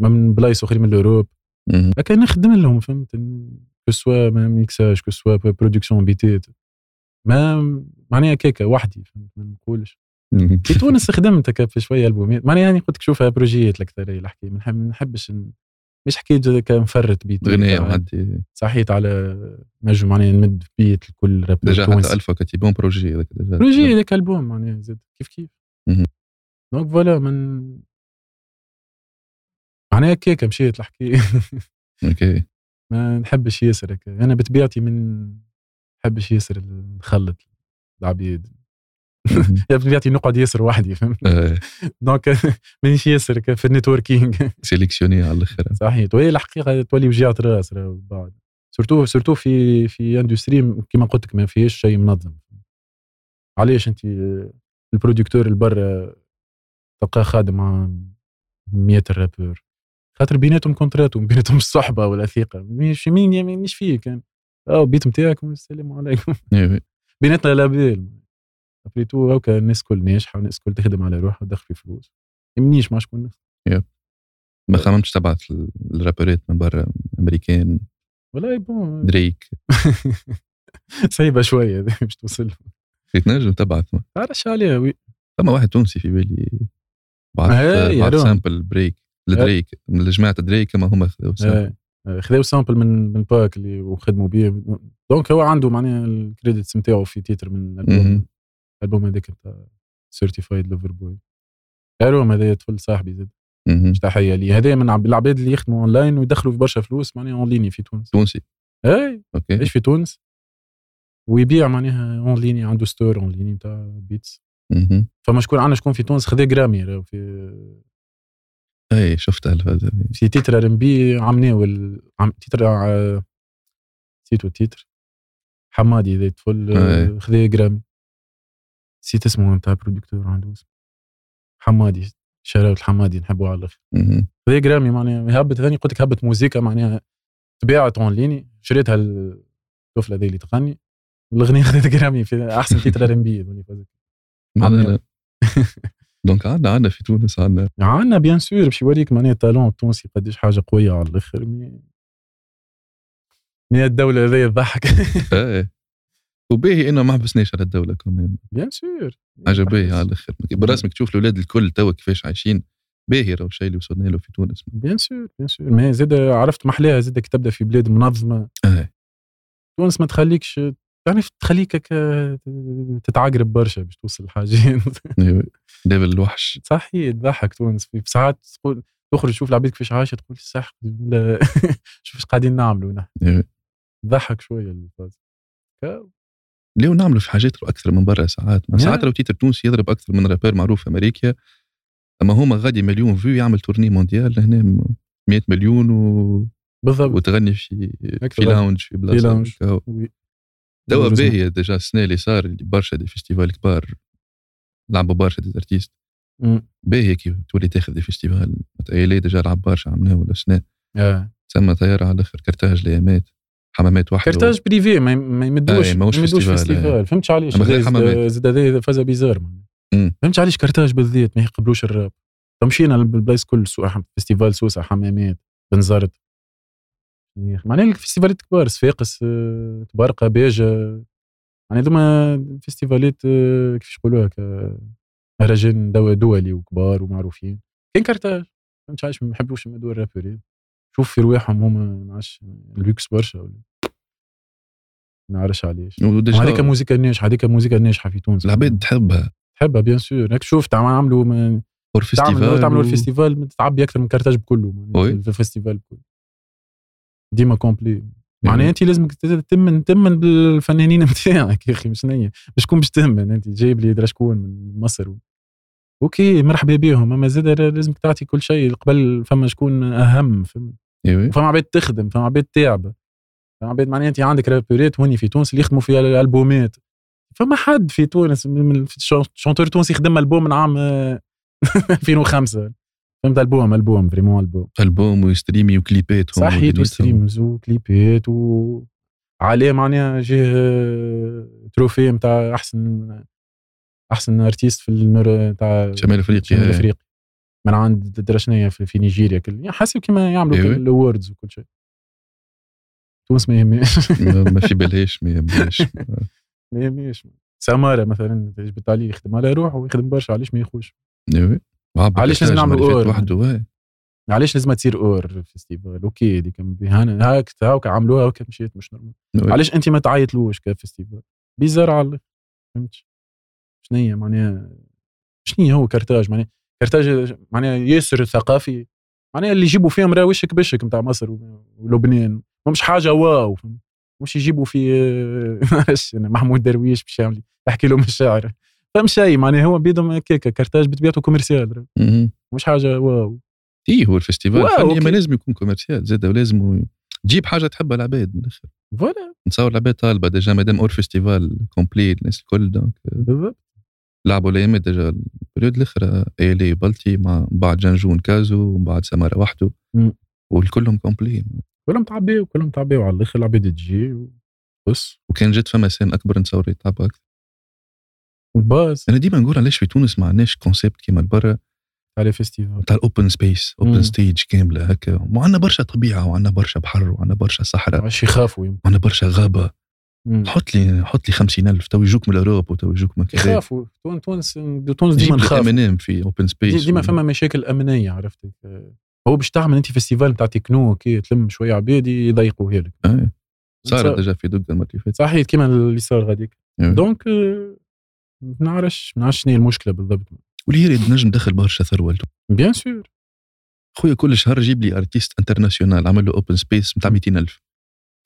Speaker 1: من بلايص اخرين من الاوروب [laughs]
Speaker 2: مهم.
Speaker 1: هكا نخدم لهم فهمت كو سوا ميكساج كو سوا برودكسيون بيتات ما معناها كيكه وحدي فهمت ما نقولش
Speaker 2: مهم.
Speaker 1: في تونس خدمت هكا في شويه البومات معناها يعني قلت لك شوفها بروجيات الأكثرية الحكايه ما نحب- ما نحبش ن- مش حكيت هكا نفرط بيت
Speaker 2: غنية معدي
Speaker 1: صحيت على نجم معناها نمد بيت لكل رابر
Speaker 2: ديجا حتى
Speaker 1: تونسي
Speaker 2: الفا كاتيبون بروجي هذاك ديجا.
Speaker 1: بروجي هذاك البوم معناها زاد كيف كيف
Speaker 2: مهم.
Speaker 1: دونك فوالا من معناها هكاك مشيت الحكايه
Speaker 2: اوكي
Speaker 1: [laughs] ما نحبش ياسر هكا انا بطبيعتي من نحبش ياسر نخلط العبيد
Speaker 2: مهم.
Speaker 1: يا بطبيعتي نقعد ياسر وحدي فهمت [laughs]
Speaker 2: [laughs] آه،
Speaker 1: دونك مانيش ياسر هكا في النيتوركينغ
Speaker 2: سيليكسيوني على الاخر
Speaker 1: صحيح طيب، وهي الحقيقه تولي وجعت راس راهو بعد سورتو سورتو في في اندستري كيما قلت لك ما فيهاش شيء منظم علاش انت البرودكتور البرا تلقاه خادم مع 100 رابور خاطر بيناتهم كونتراتهم بيناتهم الصحبه ولا ثقه مش مين يا مين مش فيه كان او بيت نتاعكم السلام عليكم [laughs]
Speaker 2: إيه، إيه.
Speaker 1: بيناتنا لابيل ابري تو هاكا الناس الكل ناجحه والناس الكل تخدم على روحها تدخل في فلوس يهمنيش مع شكون نخدم.
Speaker 2: ما خممتش تبعت الرابرات من برا امريكان
Speaker 1: والله بون
Speaker 2: دريك
Speaker 1: صعيبه شويه هذه [laughs] باش توصل
Speaker 2: تنجم تبعت ما.
Speaker 1: تعرفش عليها وي
Speaker 2: فما واحد تونسي في بالي بعث
Speaker 1: إيه، يا
Speaker 2: بعث
Speaker 1: روان.
Speaker 2: سامبل بريك الدريك من الجماعه الدريك كما هما خذوا سامبل.
Speaker 1: إيه. آه، خذوا سامبل من من باك اللي وخدموا بيه دونك هو عنده معناها الكريديتس نتاعو في تيتر من الالبوم
Speaker 2: مهم.
Speaker 1: الالبوم هذاك نتاع سيرتيفايد لوفر بوي البوم هذا طفل صاحبي زاد
Speaker 2: مهم.
Speaker 1: تحيه ليه هذا من عب- العباد اللي يخدموا اونلاين ويدخلوا في برشا فلوس معناها اونلاين في تونس
Speaker 2: تونسي
Speaker 1: اي
Speaker 2: اوكي
Speaker 1: يعيش في تونس ويبيع معناها اونلاين عنده ستور اونلاين نتاع بيتس
Speaker 2: مهم.
Speaker 1: فما شكون عندنا شكون في تونس خذا جرامي راهو في
Speaker 2: اي شفتها الفازة هذه.
Speaker 1: في تيتر ار ام بي عمناول عم تيتر ع- نسيتو التيتر حمادي ذا الطفل آه،
Speaker 2: أي.
Speaker 1: خذا جرامي نسيت اسمه نتاع برودكتور عنده اسم حمادي شراوت الحمادي نحبه على الاخر
Speaker 2: مهم.
Speaker 1: خذا جرامي معناها هبت ثاني قلت لك هبت موزيكا معناها تباعت اون ليني شريتها الطفله هذه اللي تغني [laughs] الاغنيه خذت جرامي في احسن تيتر ار ام بي
Speaker 2: لا، لا، لا.
Speaker 1: عمي.
Speaker 2: دونك عندنا عندنا في تونس عندنا
Speaker 1: عندنا بيان سور باش يوريك معناها التالون التونسي قداش حاجه قويه على الاخر مي مي الدوله هذه تضحك [laughs]
Speaker 2: اي وباهي انه ما حبسناش على الدوله كمان
Speaker 1: بيان سور
Speaker 2: حاجه باهيه على الاخر برسمك تشوف الاولاد الكل توا كيفاش عايشين باهي راهو الشيء اللي وصلنا له في تونس
Speaker 1: بيان سور بيان سور ما هي زاد عرفت محلاها زاد كي تبدا في بلاد منظمه
Speaker 2: إيه.
Speaker 1: تونس ما تخليكش يعني تخليك هكا تتعقرب برشا باش توصل لحاجين
Speaker 2: أيوة. ليفل الوحش
Speaker 1: [laughs] صحيح تضحك تونس في في ساعات تقول تخرج تشوف العباد كيفاش عايشه تقول صح لا، [laughs] شوف ايش قاعدين نعملوا نحن
Speaker 2: إيه.
Speaker 1: تضحك شويه الفاز
Speaker 2: ليه نعملوا في حاجات اكثر من برا ساعات ما
Speaker 1: Yeah.
Speaker 2: ساعات لو تيتر تونسي يضرب اكثر من رابير معروف في امريكا اما هما غادي مليون فيو يعمل تورني مونديال هنا م- 100 مليون و...
Speaker 1: بالضبط
Speaker 2: وتغني في في
Speaker 1: أكثر.
Speaker 2: لاونج في بلاصه
Speaker 1: lounge.
Speaker 2: هكا.
Speaker 1: وي.
Speaker 2: توا
Speaker 1: لازم.
Speaker 2: باهي ديجا السنه اللي صار اللي برشا دي فيستيفال كبار لعبوا برشا دي زارتيست
Speaker 1: مم.
Speaker 2: باهي كي تولي تاخذ دي فيستيفال متأيلي ديجا لعب برشا عملناه ولا سنه
Speaker 1: آه.
Speaker 2: تسمى طياره على الاخر كرتاج ليامات حمامات وحده
Speaker 1: كارتاج بريفي ما ما يمدوش
Speaker 2: آه،
Speaker 1: ما
Speaker 2: ماهوش
Speaker 1: يمدوش
Speaker 2: فيستيفال، آه.
Speaker 1: فيستيفال فهمتش علاش
Speaker 2: أما غير
Speaker 1: زاد- آه،
Speaker 2: حمامات.
Speaker 1: زاد هذا فازا بيزار
Speaker 2: مم.
Speaker 1: فهمتش علاش كارتاج بالذات ما يقبلوش الراب فمشينا للبلايص كل سوق فيستيفال سوسه حمامات بنزرت معناها الفيستيفالات كبار صفاقس آه، تبرقه باجه يعني هذوما فيستيفالات آه، كيفاش يقولوها هكا، مهرجان دو- دولي وكبار ومعروفين كان كارتاج فهمتش علاش ما يحبوش يمدوا الرابرين شوف في رواحهم هما ما نعرفش لوكس برشا ولا ما نعرفش علاش هذيك
Speaker 2: وديجا
Speaker 1: موسيقى ناجحه هذيك موسيقى ناجحه في تونس
Speaker 2: العباد تحبها
Speaker 1: تحبها بيان سور هاك شفت عملوا من
Speaker 2: فور
Speaker 1: تعملوا
Speaker 2: فيستيفال
Speaker 1: تعملوا
Speaker 2: و-
Speaker 1: الفيستيفال تعبي اكثر من كارتاج بكله
Speaker 2: وي.
Speaker 1: في الفيستيفال كله ديما كومبلي
Speaker 2: يعني
Speaker 1: معناها انت لازمك تت- تتمن تمن بالفنانين [laughs] نتاعك يا اخي مش نية مش تكون باش تمن انت جايب لي درا شكون من مصر و... اوكي مرحبا بيهم اما زاد لازمك تعطي كل شيء قبل فما شكون اهم فهمت
Speaker 2: ايوه
Speaker 1: فما عباد تخدم فما عباد تعب فما عباد معناها انت عندك رابوريت هوني في تونس اللي يخدموا في الالبومات فما حد في تونس من- من- في شون- شونتور تونسي خدم البوم من عام [laughs] آه، 2005 فهمت البوم البوم فريمون البوم
Speaker 2: البوم وستريمي وكليبات هم
Speaker 1: صحيت
Speaker 2: ودنيتهم.
Speaker 1: وستريمز وكليبات و عليه معناها جه آه، تروفي نتاع احسن احسن ارتيست في النور نتاع
Speaker 2: شمال آه. افريقيا
Speaker 1: شمال افريقيا من عند درشنية في, في نيجيريا كل يعني حسب كما يعملوا
Speaker 2: إيوه.
Speaker 1: الاوردز وكل شيء تونس ما يهمش
Speaker 2: [laughs] ما- ما في بلاش ما يبلاش
Speaker 1: [laughs] ما يهمش سماره مثلا جبت عليه يخدم على روحه ويخدم برشا علاش ما يخوش
Speaker 2: ايوه وعبد
Speaker 1: علاش لازم
Speaker 2: الحجاج
Speaker 1: نعملوا
Speaker 2: معرفات
Speaker 1: اور؟
Speaker 2: وحده واه.
Speaker 1: علاش لازم تصير اور فيستيفال اوكي دي كان بهانا هاك هاك عملوها هاك مشيت مش نورمال
Speaker 2: إيوه.
Speaker 1: علاش انت ما تعيطلوش كفيستيفال بيزار على الآخر، فهمت شنيا معناها شنيا هو كارتاج معناها كارتاج معناها ياسر ثقافي معناها اللي يجيبوا فيهم راه وشك بشك نتاع مصر و- ولبنان مش حاجه واو فهمت؟ مش يجيبوا في [laughs] معرفش أنا محمود درويش باش يعمل يحكي لهم الشعر فهم شيء معناها هو بيدهم هكاك كارتاج بطبيعته كوميرسيال
Speaker 2: مهم.
Speaker 1: مش حاجه واو
Speaker 2: ايه هو الفيستيفال
Speaker 1: واه،
Speaker 2: الفني
Speaker 1: أوكي.
Speaker 2: ما لازم يكون كوميرسيال زاد ولازم تجيب حاجه تحبها العباد من الاخر
Speaker 1: فوالا
Speaker 2: نتصور العباد طالبه ديجا مادام اور فيستيفال كومبلي الناس الكل دونك
Speaker 1: بالضبط
Speaker 2: لعبوا الايام ديجا البريود الاخرى الي بلتي مع من بعد جنجون كازو ومن بعد سماره وحده
Speaker 1: مم.
Speaker 2: والكلهم كومبلي
Speaker 1: كلهم تعبيوا كلهم تعبيوا على الاخر العباد تجي بص
Speaker 2: وكان جات فما سن اكبر نتصور يتعبوا اكثر
Speaker 1: باز
Speaker 2: انا ديما نقول علاش في تونس ما عندناش كونسيبت كيما برا
Speaker 1: على فيستيفال
Speaker 2: تاع الاوبن سبيس
Speaker 1: مم.
Speaker 2: اوبن ستيج كامله هكا وعندنا برشا طبيعه وعندنا برشا بحر وعندنا برشا صحراء
Speaker 1: عاش يخافوا يم-
Speaker 2: وعندنا برشا غابه
Speaker 1: مم.
Speaker 2: حط لي حط لي 50000 تو يجوك من الاوروب وتو يجوك من كذا
Speaker 1: يخافوا تون- تونس تونس ديما
Speaker 2: جيب
Speaker 1: نخاف
Speaker 2: امنام في اوبن سبيس
Speaker 1: ديما فما مشاكل امنيه عرفت هو باش تعمل انت فيستيفال نتاع تكنو كي تلم شويه عباد يضيقوها لك
Speaker 2: آه. صارت ديجا في دوكا المرة اللي فاتت
Speaker 1: صحيح كيما اللي صار غاديك
Speaker 2: إيه.
Speaker 1: دونك آه، ما نعرفش ما نعرفش شنو هي المشكله بالضبط
Speaker 2: والهيري نجم دخل برشا ثروه
Speaker 1: بيان سور
Speaker 2: خويا كل شهر جيب لي ارتيست انترناسيونال عمل له اوبن سبيس نتاع 200000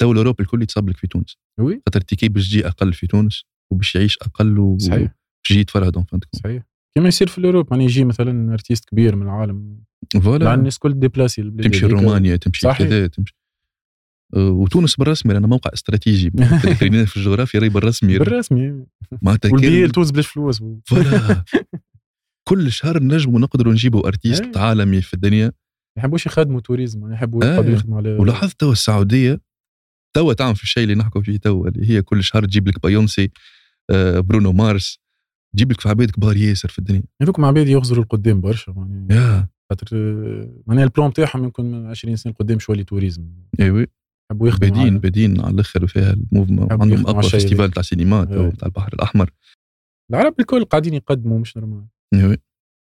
Speaker 2: تو الاوروب الكل يتصاب لك في تونس
Speaker 1: وي
Speaker 2: خاطر التيكي باش تجي اقل في تونس وباش يعيش اقل و-
Speaker 1: صحيح
Speaker 2: وباش يجي يتفرهد اون فان
Speaker 1: صحيح Mm. كيما يصير في الاوروب يعني يجي مثلا ارتيست كبير من العالم لان
Speaker 2: فوالا
Speaker 1: الناس كل ديبلاسي للبلاد
Speaker 2: تمشي
Speaker 1: هذيك.
Speaker 2: رومانيا تمشي
Speaker 1: يعني صحيح.
Speaker 2: كذا تمشي أه، وتونس بالرسمي رانا موقع
Speaker 1: [laughs]
Speaker 2: استراتيجي خلينا في الجغرافيا راهي بالرسمي
Speaker 1: بالرسمي
Speaker 2: معناتها كان-
Speaker 1: والبيل تونس بلاش فلوس [laughs]
Speaker 2: فوالا كل شهر نجموا نقدروا نجيبوا ارتيست
Speaker 1: إيه.
Speaker 2: عالمي في الدنيا
Speaker 1: ما يحبوش يخدموا توريزم يعني يحبوا
Speaker 2: آه.
Speaker 1: يقعدوا يخدموا على
Speaker 2: ولاحظت توا السعوديه توا تعمل في الشيء اللي نحكوا فيه توا اللي هي كل شهر تجيب لك بيونسي آه، برونو مارس تجيب لك في عباد كبار ياسر في الدنيا
Speaker 1: هذوكم عباد يخزروا القدام برشا يعني
Speaker 2: يا
Speaker 1: خاطر آه، معناها البلان نتاعهم يمكن من 20 سنه قدام شويه لي توريزم
Speaker 2: ايوي
Speaker 1: يحبوا يخدموا
Speaker 2: إيه، بادين
Speaker 1: على-
Speaker 2: بادين على الاخر فيها الموفمون
Speaker 1: حب
Speaker 2: عندهم
Speaker 1: يخدموا
Speaker 2: اقوى
Speaker 1: على الشيء
Speaker 2: فيستيفال
Speaker 1: هذاك.
Speaker 2: تاع سينما توا
Speaker 1: إيه.
Speaker 2: تاع البحر الاحمر
Speaker 1: العرب الكل قاعدين يقدموا مش نورمال
Speaker 2: ايوي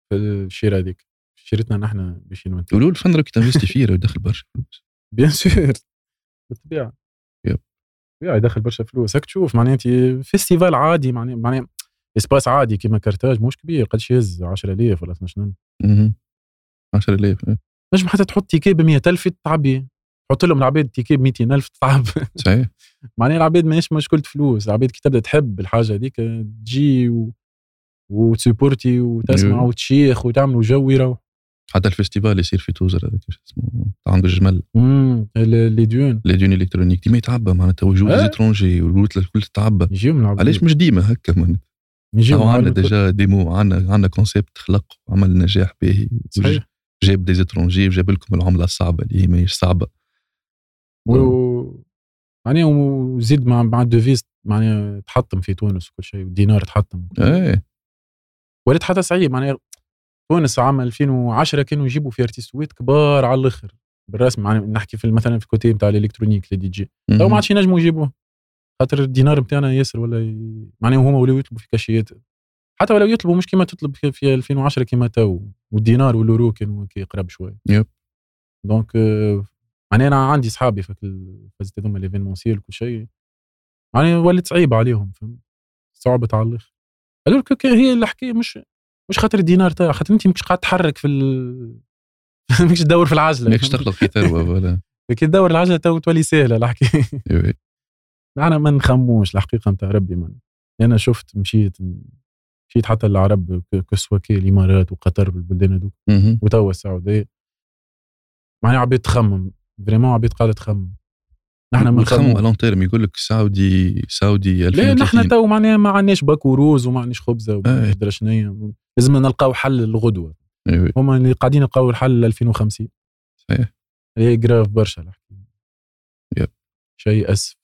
Speaker 1: في الشيره هذيك شيرتنا نحن باش نوانتي [laughs]
Speaker 2: يقولوا الفن راك تنفستي فيه راه داخل برشا فلوس
Speaker 1: بيان سور بالطبيعه
Speaker 2: يب.
Speaker 1: بالطبيعه يدخل برشا فلوس هاك تشوف معناها انت فيستيفال عادي معناها معناها اسباس عادي كيما كارتاج مش كبير قد يهز 10000 ولا 12000
Speaker 2: مهم. 10000 إيه.
Speaker 1: نجم حتى تحط تيكي ب 100000 تعبي تحط لهم العباد تيكي ب 200000 تعب
Speaker 2: صحيح
Speaker 1: معناها العباد ماهيش مشكلة فلوس العباد كي تبدا تحب الحاجة هذيك تجي و... وتسيبورتي وتسمع
Speaker 2: أيوة.
Speaker 1: وتشيخ وتعملوا جو يروح
Speaker 2: حتى الفيستيفال يصير في توزر هذاك شو اسمه تاع عنده الجمل
Speaker 1: امم ال- لي ديون
Speaker 2: لي ديون الكترونيك ديما يتعبى معناتها وجود
Speaker 1: إيه.
Speaker 2: الاترونجي والروت الكل تتعبى
Speaker 1: يجيو من العباد
Speaker 2: علاش مش ديما هكا معناتها
Speaker 1: يجيو
Speaker 2: او
Speaker 1: من
Speaker 2: عندنا
Speaker 1: العباد
Speaker 2: ديجا ديمو عندنا عندنا كونسيبت خلق وعمل نجاح باهي
Speaker 1: صحيح
Speaker 2: جاب دي زيترونجي وجاب لكم العمله الصعبه اللي هي ماهيش صعبه
Speaker 1: و... معناها وزيد مع مع الدوفيز معناها تحطم في تونس وكل شيء والدينار تحطم
Speaker 2: ايه
Speaker 1: ولات حتى صعيب معناها تونس عام 2010 كانوا يجيبوا في ارتيستوات كبار على الاخر بالرسم معناها نحكي في مثلا في كوتي نتاع الالكترونيك لي دي جي تو ما عادش ينجموا يجيبوه خاطر الدينار نتاعنا ياسر ولا ي... معناها هما ولاو يطلبوا في كاشيات حتى ولو يطلبوا مش كيما تطلب في- في 2010 كيما تو والدينار واليورو كانوا كي قرب شويه
Speaker 2: يب.
Speaker 1: دونك آه، معناها انا عندي صحابي في فازت هذوما ليفينمونسيال وكل شيء معناها ولات صعيبه عليهم فهمت صعبت على الاخر الو كو- كو هي الحكايه مش مش خاطر الدينار تاعها خاطر انت مش قاعد تحرك في ال... [laughs] مش تدور في العجله
Speaker 2: ماكش تخلق في ثروه ولا
Speaker 1: كي تدور العجله تو تولي سهله الحكايه
Speaker 2: إيه.
Speaker 1: انا ما نخموش الحقيقه نتاع ربي من انا شفت مشيت مشيت حتى العرب ك- كسوة كي الامارات وقطر والبلدان هذوك
Speaker 2: مهم.
Speaker 1: وتوا السعوديه معناها عبيد تخمم فريمون عبيد قاعده تخمم نحن ما
Speaker 2: وتخمم
Speaker 1: نخمم
Speaker 2: على تيرم يقول لك سعودي سعودي
Speaker 1: لا
Speaker 2: 2030
Speaker 1: نحن تو معناها ما عندناش باك وروز وما عندناش خبزه وما
Speaker 2: آه.
Speaker 1: عندناش درا شنيا لازم نلقاو حل الغدوه
Speaker 2: إيه.
Speaker 1: هما اللي قاعدين يلقاو الحل ل 2050
Speaker 2: صحيح.
Speaker 1: هي جراف برشا الحكايه
Speaker 2: يب.
Speaker 1: شيء اسف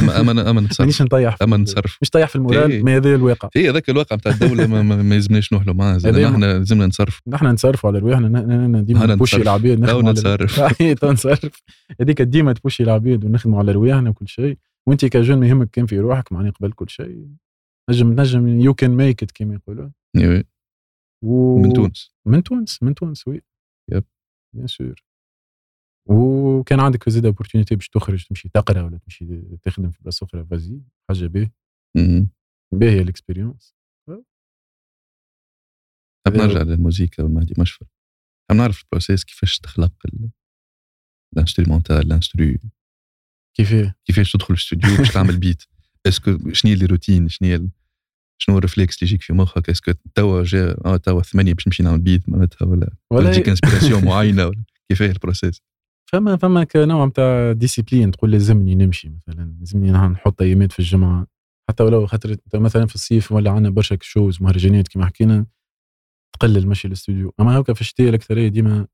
Speaker 2: اما اما اما نتصرف
Speaker 1: مانيش نطيح في-
Speaker 2: اما نتصرف
Speaker 1: مش طايح في
Speaker 2: إيه.
Speaker 1: المورال ما هذا الواقع
Speaker 2: هي ذاك الواقع نتاع الدوله ما, ما, ما يلزمناش نحلو معاه زاد
Speaker 1: هذا
Speaker 2: احنا لازمنا نصرف
Speaker 1: نحن نصرفوا على رواحنا ن- ن- ن-
Speaker 2: أنا
Speaker 1: ديما نبوشي
Speaker 2: نتصرف.
Speaker 1: العباد
Speaker 2: لا
Speaker 1: نخدموا على
Speaker 2: ونتصرف.
Speaker 1: [laughs] الرواح. إيه، تو نصرف هذيك ديما تبوشي العباد ونخدموا على رواحنا وكل شيء وانت كجون ما يهمك كان في روحك معني قبل كل شيء نجم نجم يو كان ميك ات كيما يقولوا
Speaker 2: إيه.
Speaker 1: و...
Speaker 2: من تونس
Speaker 1: من تونس من تونس وي
Speaker 2: يب.
Speaker 1: بيان سور وكان عندك زاد اوبورتونيتي باش تخرج تمشي تقرا ولا تمشي تخدم في بلاصه اخرى فازي حاجه باهيه
Speaker 2: مهم.
Speaker 1: باهيه الاكسبيريونس
Speaker 2: نحب
Speaker 1: إيه.
Speaker 2: نرجع للموسيقى والمهدي مشفر نحب نعرف البروسيس كيفاش تخلق الانسترومونتال الانسترو
Speaker 1: كيفاه
Speaker 2: كيفاش تدخل الاستوديو باش تعمل [laughs] بيت اسكو شنو هي الروتين شنو هي ال- شنو الريفلكس اللي يجيك في مخك اسكو توا جا اه توا ثمانية باش نمشي نعمل بيت معناتها ولا
Speaker 1: ولا
Speaker 2: تجيك انسبيراسيون معينه ولا كيفاه البروسيس
Speaker 1: فما فما كنوع نتاع ديسيبلين تقول لازمني نمشي مثلا لازمني نح- نحط ايامات في الجمعه حتى ولو خاطر أنت مثلا في الصيف ولا عندنا برشا شوز مهرجانات كما حكينا تقلل مشي للاستوديو اما هكا في الشتاء الاكثريه ديما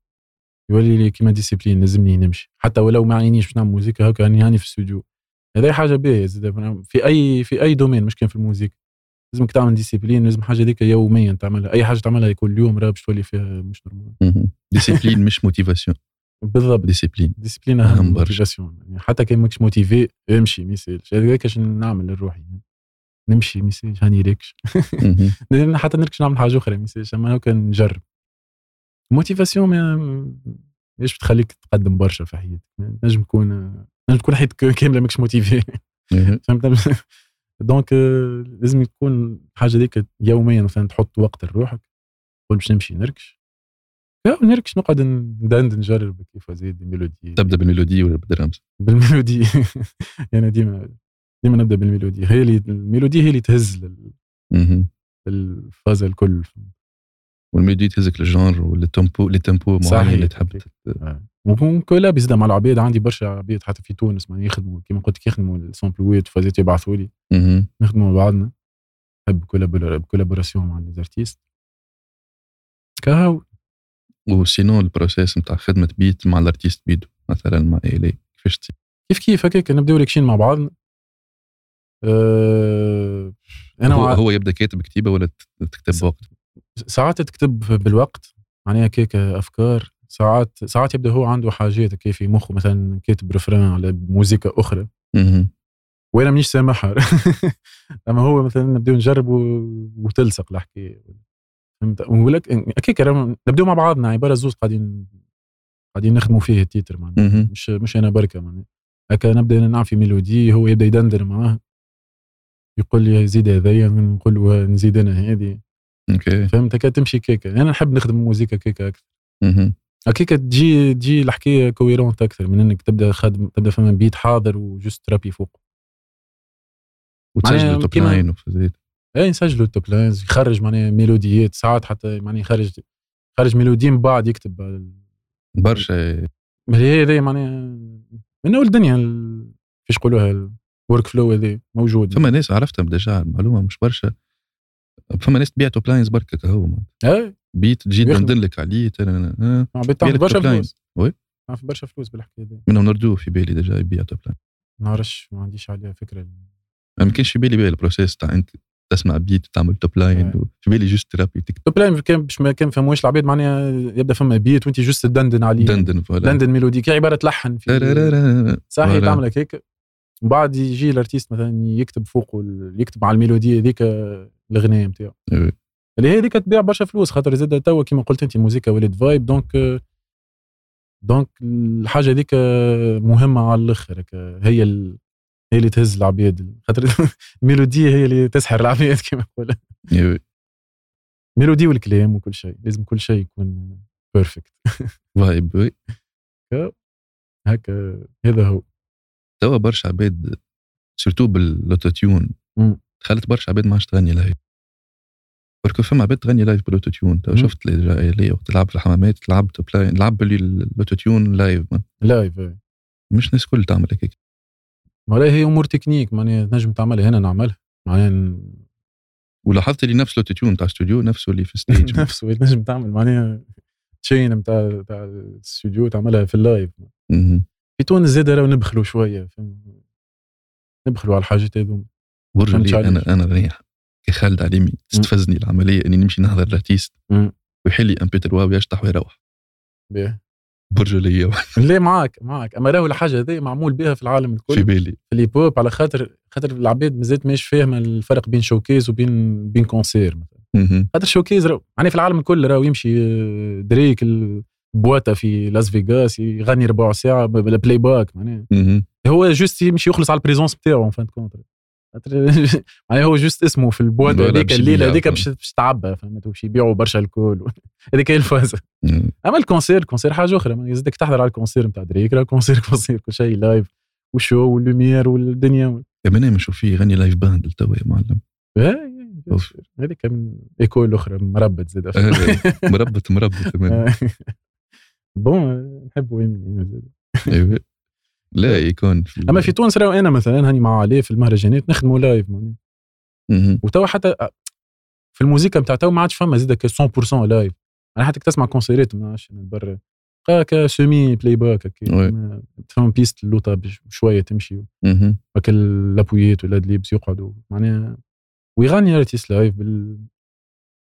Speaker 1: يولي لي كيما ديسيبلين لازمني نمشي حتى ولو ما عينيش باش نعمل موسيقى هكا راني هاني في الاستوديو هذا حاجه باهيه زاد في اي في اي دومين مش كان في الموسيقى لازمك تعمل ديسيبلين لازم حاجه ذيك يوميا تعملها اي حاجه تعملها كل يوم راه باش تولي فيها مش نورمال
Speaker 2: ديسيبلين مش موتيفاسيون
Speaker 1: بالضبط
Speaker 2: ديسيبلين
Speaker 1: ديسبلين
Speaker 2: أهم
Speaker 1: اهم
Speaker 2: برشا.
Speaker 1: موتيفاسيون يعني حتى كان ماكش موتيفي امشي ما يسالش هذاك اش نعمل لروحي يعني. نمشي ما [laughs] يسالش هاني ريكش حتى نركش نعمل حاجه اخرى ما يسالش اما هو كان نجرب الموتيفاسيون ما- مش بتخليك تقدم برشا في حياتك نجم تكون نجم تكون حياتك [laughs] كامله ماكش موتيفي [laughs] فهمت [laughs] دونك آه، لازم تكون الحاجه ذيك يوميا مثلا تحط وقت لروحك تقول باش نمشي نركش لا نركش نقعد ندندن نجرب كيف زيد ميلودي
Speaker 2: تبدا بالميلودي ولا بالدرامز
Speaker 1: بالميلودي [laughs] انا ديما ديما نبدا بالميلودي هي اللي الميلودي هي اللي تهز لل-
Speaker 2: مهم.
Speaker 1: للفازه الكل
Speaker 2: والميلودي تهزك للجانر والتمبو للتمبو معين
Speaker 1: صحيح.
Speaker 2: اللي تحب
Speaker 1: وكون كولاب زاد مع العباد عندي برشا عباد حتى في تونس ما يخدموا كيما قلت لك يخدموا السامبلويت فازات يبعثوا لي
Speaker 2: مهم.
Speaker 1: نخدموا مع بعضنا نحب كولابور- كولابوراسيون مع ليزارتيست كهو
Speaker 2: وسينو البروسيس نتاع خدمه بيت مع الارتيست بيدو مثلا مع الي كيفاش تصير
Speaker 1: كيف كيف هكاك نبداو ريكشين مع بعضنا أه انا
Speaker 2: هو,
Speaker 1: وع-
Speaker 2: هو يبدا كاتب كتيبه ولا ت- تكتب
Speaker 1: س-
Speaker 2: وقت
Speaker 1: ساعات تكتب بالوقت معناها هكاك افكار ساعات ساعات يبدا هو عنده حاجات هكا في مخه مثلا كاتب رفران على موسيقى اخرى
Speaker 2: مهم.
Speaker 1: وانا مانيش سامحها [laughs] اما هو مثلا نبداو نجرب و- وتلصق الحكايه فهمت ولك اكيد راهم- نبداو مع بعضنا عباره زوز قاعدين قاعدين نخدموا فيه التيتر معناها
Speaker 2: مهم.
Speaker 1: مش مش انا بركه معناها هكا نبدا أنا نعفي ميلودي هو يبدا يدندن معاه يقول لي زيد هذايا نقول له نزيد انا هذه
Speaker 2: اوكي
Speaker 1: فهمت هكا تمشي كيكا انا نحب نخدم موزيكا كيكا اكثر
Speaker 2: مهم.
Speaker 1: هكاك تجي تجي الحكايه كويرونت اكثر من انك تبدا خادم تبدا فما بيت حاضر وجست رابي فوق
Speaker 2: وتسجلوا
Speaker 1: معناها
Speaker 2: توب
Speaker 1: كيما-
Speaker 2: ناين وفزيت
Speaker 1: اي نسجلوا إيه، التوب لاينز يخرج معناها ميلوديات ساعات حتى معناها يخرج خرج ميلودي من بعد يكتب
Speaker 2: برشا
Speaker 1: ما هي هذا معناها من اول الدنيا ال- كيفاش يقولوها الورك فلو هذا موجود
Speaker 2: فما ناس عرفتها بدجا معلومه مش برشا فما ناس تبيع توب لاينز بركك هو
Speaker 1: اي
Speaker 2: بيت تجي
Speaker 1: يخدم.
Speaker 2: تندن لك عليه تنن- آه.
Speaker 1: عباد
Speaker 2: يبيع
Speaker 1: تعمل
Speaker 2: لك
Speaker 1: برشا
Speaker 2: توب لاين.
Speaker 1: فلوس
Speaker 2: وي.
Speaker 1: تعمل برشا فلوس بالحكايه هذه
Speaker 2: منهم نردو في بالي دجا يبيع توب لاين
Speaker 1: ما نعرفش ما عنديش عليها فكره
Speaker 2: ما كانش في بالي بقى البروسيس تاع انت تسمع بيت تعمل توب لاين
Speaker 1: آه.
Speaker 2: و- في بالي جوست ترابي تكتب
Speaker 1: التوب لاين كان باش ما كان فهموش العباد معناها يبدا فما بيت وانت جوست تدندن عليه
Speaker 2: دندن فوالا
Speaker 1: دندن ميلودي كي عباره تلحن يعني في
Speaker 2: ترارارا.
Speaker 1: صحيح
Speaker 2: فوالا.
Speaker 1: تعمل هيك وبعد يجي الارتيست مثلا يكتب فوقه ال- يكتب على الميلودي هذيك الاغنيه نتاعو
Speaker 2: إيه.
Speaker 1: اللي هي هذيك تبيع برشا فلوس خاطر زاد توا كيما قلت انت الموسيقى ولات فايب دونك دونك الحاجه هذيك مهمه على الاخر هكا. هي ال... هي اللي تهز العباد خاطر [laughs] الميلودي هي اللي تسحر العباد كما نقول
Speaker 2: إيه.
Speaker 1: ميلودي والكلام وكل شيء لازم كل شيء يكون بيرفكت
Speaker 2: فايب وي.
Speaker 1: هكا هذا هو
Speaker 2: توا برشا عباد سيرتو بالاوتوتيون
Speaker 1: مم.
Speaker 2: خلت برشا عباد ما عادش تغني لايف بركو فما عباد تغني لايف بالاوتوتيون توا
Speaker 1: مم.
Speaker 2: شفت اللي جاي ليا وقت تلعب في الحمامات تلعب تبلاي تلعب بالاوتوتيون لايف ما-
Speaker 1: لايف إيه.
Speaker 2: مش ناس كل تعمل هيك
Speaker 1: ما هي امور تكنيك معناها تنجم تعملها هنا نعملها معناها ن-
Speaker 2: ولاحظت اللي نفس الاوتوتيون تاع استوديو نفسه اللي
Speaker 1: [laughs]
Speaker 2: في الستيج
Speaker 1: نفسه تنجم تعمل معناها تشين نتاع تاع الاستوديو تعملها في اللايف
Speaker 2: مهم.
Speaker 1: في تونس زاد راهو نبخلوا شويه فهم؟ نبخلوا على الحاجات هذوما
Speaker 2: ورجع
Speaker 1: فهمت
Speaker 2: لي
Speaker 1: عليك.
Speaker 2: انا انا ريح كي خالد عليمي تستفزني العمليه اني نمشي نهضر الارتيست
Speaker 1: مم.
Speaker 2: ويحل لي ان بيتر واو يشطح ويروح
Speaker 1: باهي.
Speaker 2: برجع ليا
Speaker 1: [laughs] لا معاك معاك اما راهو الحاجه هذه معمول بها في العالم الكل
Speaker 2: في
Speaker 1: في
Speaker 2: بالي
Speaker 1: الهيب هوب على خاطر خاطر العباد مازالت ماهيش فاهمه الفرق بين شوكيز وبين بين كونسير مثلا
Speaker 2: مهم.
Speaker 1: خاطر شوكيز راهو يعني في العالم الكل راهو يمشي آه، دريك البواتا في لاس فيغاس يغني ربع ساعه بالبلاي باك معناها
Speaker 2: مهم.
Speaker 1: هو جوست يمشي يخلص على البريزونس نتاعو ان فان كونت [laughs] يعني هو جوست اسمه في البواد
Speaker 2: ولا
Speaker 1: هذيك
Speaker 2: باش
Speaker 1: الليله
Speaker 2: يبيع،
Speaker 1: هذيك
Speaker 2: فهمت.
Speaker 1: باش باش تعبى فهمت باش يبيعوا برشا الكول [laughs] هذيك هي الفازه
Speaker 2: مم.
Speaker 1: اما الكونسير الكونسير حاجه اخرى ما يزيدك تحضر على الكونسير [laughs] نتاع دريك راه كونسير كونسير كل شيء لايف وشو واللوميير والدنيا
Speaker 2: كمان أنا نشوف فيه يغني لايف باند لتوا يا معلم
Speaker 1: إيه،
Speaker 2: أوف.
Speaker 1: [laughs] هذيك من ايكول اخرى مربت زاد أخرى.
Speaker 2: آه، مربط مربط كمان
Speaker 1: [laughs] بون نحبوا يمين زاد
Speaker 2: أيوة. لا يكون في
Speaker 1: اما في تونس راهو انا مثلا هاني مع علي في المهرجانات نخدموا لايف معناها
Speaker 2: مهم.
Speaker 1: وتوا حتى في الموسيقى نتاع توا ما عادش فما زيدك 100% لايف انا حتى كي تسمع كونسيرات ما عادش من برا هكا سيمي بلاي باك
Speaker 2: وي.
Speaker 1: هكا تفهم بيست اللوطه بش- بشويه تمشي
Speaker 2: مهم.
Speaker 1: هكا لابويات ولا ليبس يقعدوا معناها ويغني ارتيس لايف بال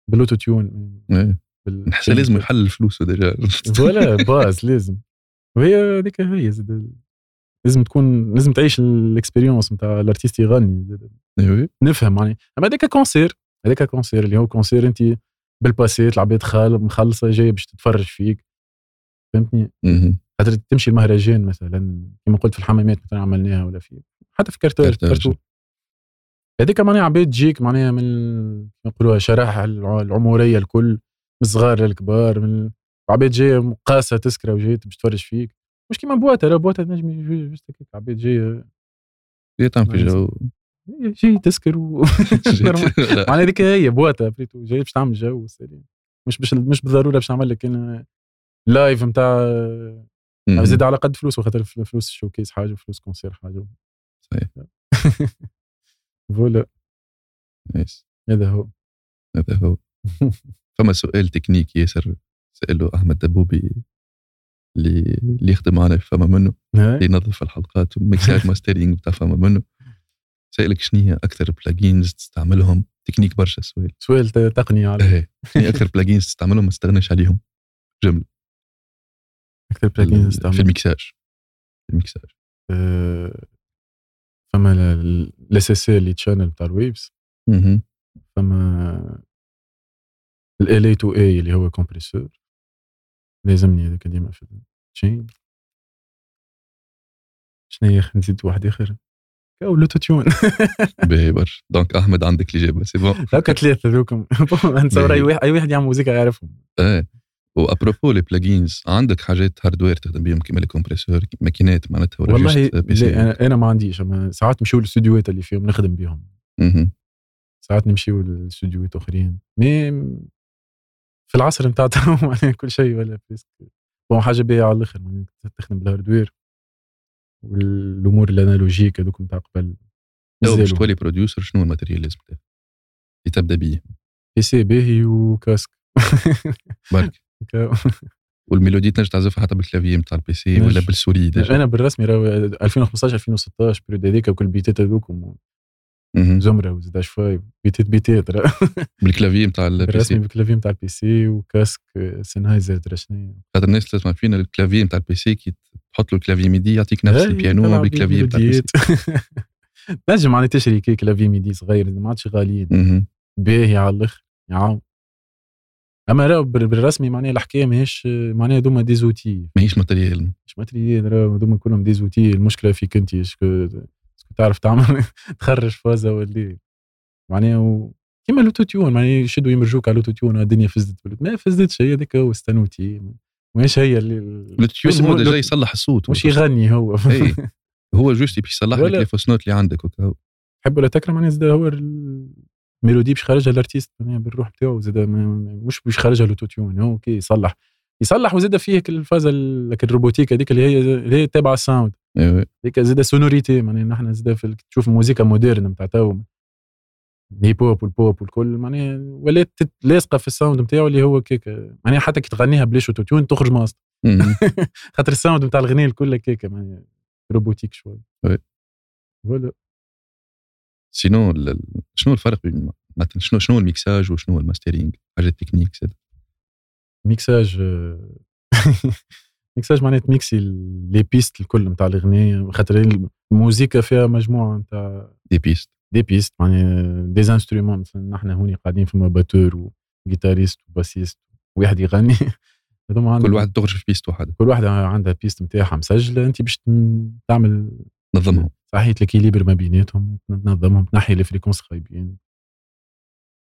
Speaker 1: بالاوتو تيون
Speaker 2: إيه.
Speaker 1: بال-
Speaker 2: نحس لازم يحل الفلوس ديجا
Speaker 1: يعني فوالا باز لازم وهي هذيك هي زاد لازم تكون لازم تعيش الاكسبيريونس نتاع الارتيست يغني زاد.
Speaker 2: [laughs] أيوة.
Speaker 1: نفهم يعني اما هذاك كونسير هذاك كونسير اللي هو كونسير انت بالباسيت العباد خال مخلصه جايه باش تتفرج فيك فهمتني
Speaker 2: مهم.
Speaker 1: خاطر تمشي المهرجان مثلا كما قلت في الحمامات مثلا عملناها ولا في حتى في كارتاج
Speaker 2: كارتاج.
Speaker 1: كارتو هذيك معناها عباد تجيك معناها من نقولوها شرائح الع- العمريه الكل من الصغار للكبار من عباد جايه مقاسه تسكره وجايت باش تفرج فيك مش كيما بواتا لا بواتا نجم يجي جوست هكاك عباد جايه
Speaker 2: هي تعمل في
Speaker 1: نعم. [laughs]
Speaker 2: جو
Speaker 1: جاي تسكر و...
Speaker 2: [laughs] لا.
Speaker 1: معناها هذيك هي بواتا بريتو جاي باش تعمل جو وسلام. مش باش مش بالضروره باش نعمل لك انا لايف نتاع
Speaker 2: مهم.
Speaker 1: زاد على قد فلوسه خاطر فل- فلوس الشوكيس حاجه وفلوس كونسير حاجه
Speaker 2: صحيح.
Speaker 1: فوالا
Speaker 2: نايس.
Speaker 1: هذا هو
Speaker 2: هذا هو فما سؤال تكنيكي ياسر سأله أحمد دبوبي اللي اللي يخدم معنا في فما منه
Speaker 1: هاي.
Speaker 2: اللي ينظف
Speaker 1: [laughs]
Speaker 2: الحلقات وميكساج ماسترينج بتاع فما منه سألك شنو هي أكثر بلاجينز تستعملهم تكنيك برشا سؤال
Speaker 1: سؤال ت- تقني على
Speaker 2: إيه. شنو هي أكثر بلاجينز تستعملهم ما
Speaker 1: [laughs]
Speaker 2: تستغناش عليهم
Speaker 1: اكثر بلاكين
Speaker 2: في
Speaker 1: نستعمل
Speaker 2: الميكساج في الميكساج
Speaker 1: آه، فما الاس اس اللي تشانل بتاع الويفز
Speaker 2: مهم.
Speaker 1: فما ال اي تو اي اللي هو كومبريسور لازمني هذاك ديما في التشين شنو يا اخي نزيد واحد اخر او لوتو [laughs] تيون
Speaker 2: باهي برشا دونك أحمد عندك الإجابة
Speaker 1: [laughs]
Speaker 2: سي بون
Speaker 1: هكا ثلاثه ذوكم نتصور اي
Speaker 2: باهي.
Speaker 1: واحد اي واحد يعمل موسيقى يعرفهم
Speaker 2: ايه وابروبو لي بلاجينز عندك حاجات هاردوير تخدم بيهم كيما الكومبريسور ماكينات معناتها ولا
Speaker 1: والله
Speaker 2: just PC؟
Speaker 1: لا، انا انا ما عنديش اما ساعات نمشيو للاستوديوهات اللي فيهم نخدم بيهم
Speaker 2: مهم.
Speaker 1: ساعات نمشيو للاستوديوهات اخرين مي في العصر نتاع [laughs] تو معناها كل شيء ولا بريسك بون حاجه باهيه على الاخر معناها تخدم بالهاردوير والامور الانالوجيك هذوك نتاع قبل
Speaker 2: لو باش
Speaker 1: مازالوا.
Speaker 2: تولي بروديوسر شنو الماتيريال لازم تاخذ؟ اللي تبدا بيه
Speaker 1: بي سي باهي وكاسك [laughs]
Speaker 2: برك والميلودي تنجم تعزفها حتى بالكلافي نتاع البي سي
Speaker 1: نجم.
Speaker 2: ولا بالسوري ديجا
Speaker 1: انا بالرسمي راهو 2015 2016 بريود هذيك وكل بيتات هذوك
Speaker 2: مهم.
Speaker 1: زمره وزد فايف بيتات بيتات [laughs] راه
Speaker 2: بالكلافي نتاع البي
Speaker 1: بالرسمي
Speaker 2: سي
Speaker 1: بالكلافي نتاع البي سي وكاسك سينهايزر ترى شنو
Speaker 2: خاطر الناس تسمع فينا الكلافي نتاع البي سي كي تحط له الكلافي ميدي يعطيك نفس
Speaker 1: هاي
Speaker 2: البيانو
Speaker 1: إيه، تلعب
Speaker 2: بالكلافي نتاع البي سي
Speaker 1: بالميديات. [laughs] نجم معناها تشري كيك لافي ميدي صغير ما عادش غاليين
Speaker 2: مهم.
Speaker 1: باهي على الاخر يعاون اما راه بال- بالرسمي معناها الحكايه ماهيش معناها دوما دي زوتي
Speaker 2: ماهيش ماتيريال
Speaker 1: مش ماتريال راه دوما كلهم دي زوتي المشكله فيك انت اسكو اسكو تعرف تعمل [laughs] تخرج فازه ولا إيه. معناها و... كيما لوتوتيون معناها يشدوا يمرجوك على لوتوتيون الدنيا فزت بالك. ما فزتش هي هذاك هو استنوتي ماهيش هي اللي مش-
Speaker 2: التيون هو
Speaker 1: لو-
Speaker 2: ديجا يصلح الصوت
Speaker 1: مش يغني هو
Speaker 2: إيه.
Speaker 1: [laughs]
Speaker 2: هو جوست يبي يصلح لك
Speaker 1: ولا-
Speaker 2: لي فوس نوت اللي عندك وكا.
Speaker 1: حب ولا تكره معناها زاد هو الميلودي باش خرجها الارتيست معناها بالروح بتاعه زاد ما- ما- مش باش خرجها لوتوتيون هو كي يصلح يصلح وزاد فيه هيك الفازه ال- هيك الروبوتيك هذيك اللي هي اللي هي تابعه الساوند
Speaker 2: إيه.
Speaker 1: هذيك زاد سونوريتي معناها نحن زاد في ال- تشوف موزيكا موديرن نتاع تو الهيب هوب والبوب والكل معناها ولات تت- لاصقه في الساوند نتاعو اللي هو كيك معناها حتى كي تغنيها بلاش اوتوتيون تخرج ماست [laughs]
Speaker 2: مهم.
Speaker 1: خاطر الساوند نتاع الغنية الكل كيك معناها روبوتيك شوي
Speaker 2: وي.
Speaker 1: ولا
Speaker 2: سينو ال- ال- شنو الفرق بين مثلا شنو شنو الميكساج وشنو الماسترينج حاجه تكنيك زاد
Speaker 1: ميكساج آه، [laughs] ميكساج معناتها تميكسي ال- لي بيست الكل نتاع الاغنيه خاطر الموسيقى فيها مجموعه نتاع
Speaker 2: دي بيست
Speaker 1: دي بيست معناها دي انسترومون مثلا نحن هوني قاعدين فما باتور وجيتاريست وباسيست واحد يغني [laughs] هذوما عندهم-
Speaker 2: كل واحد تخرج في بيست واحده
Speaker 1: كل واحده عندها بيست نتاعها مسجله انت باش تم- تعمل
Speaker 2: نظمهم
Speaker 1: صحيح الكيليبر ما بيناتهم تنظمهم تنحي الفريكونس خايبين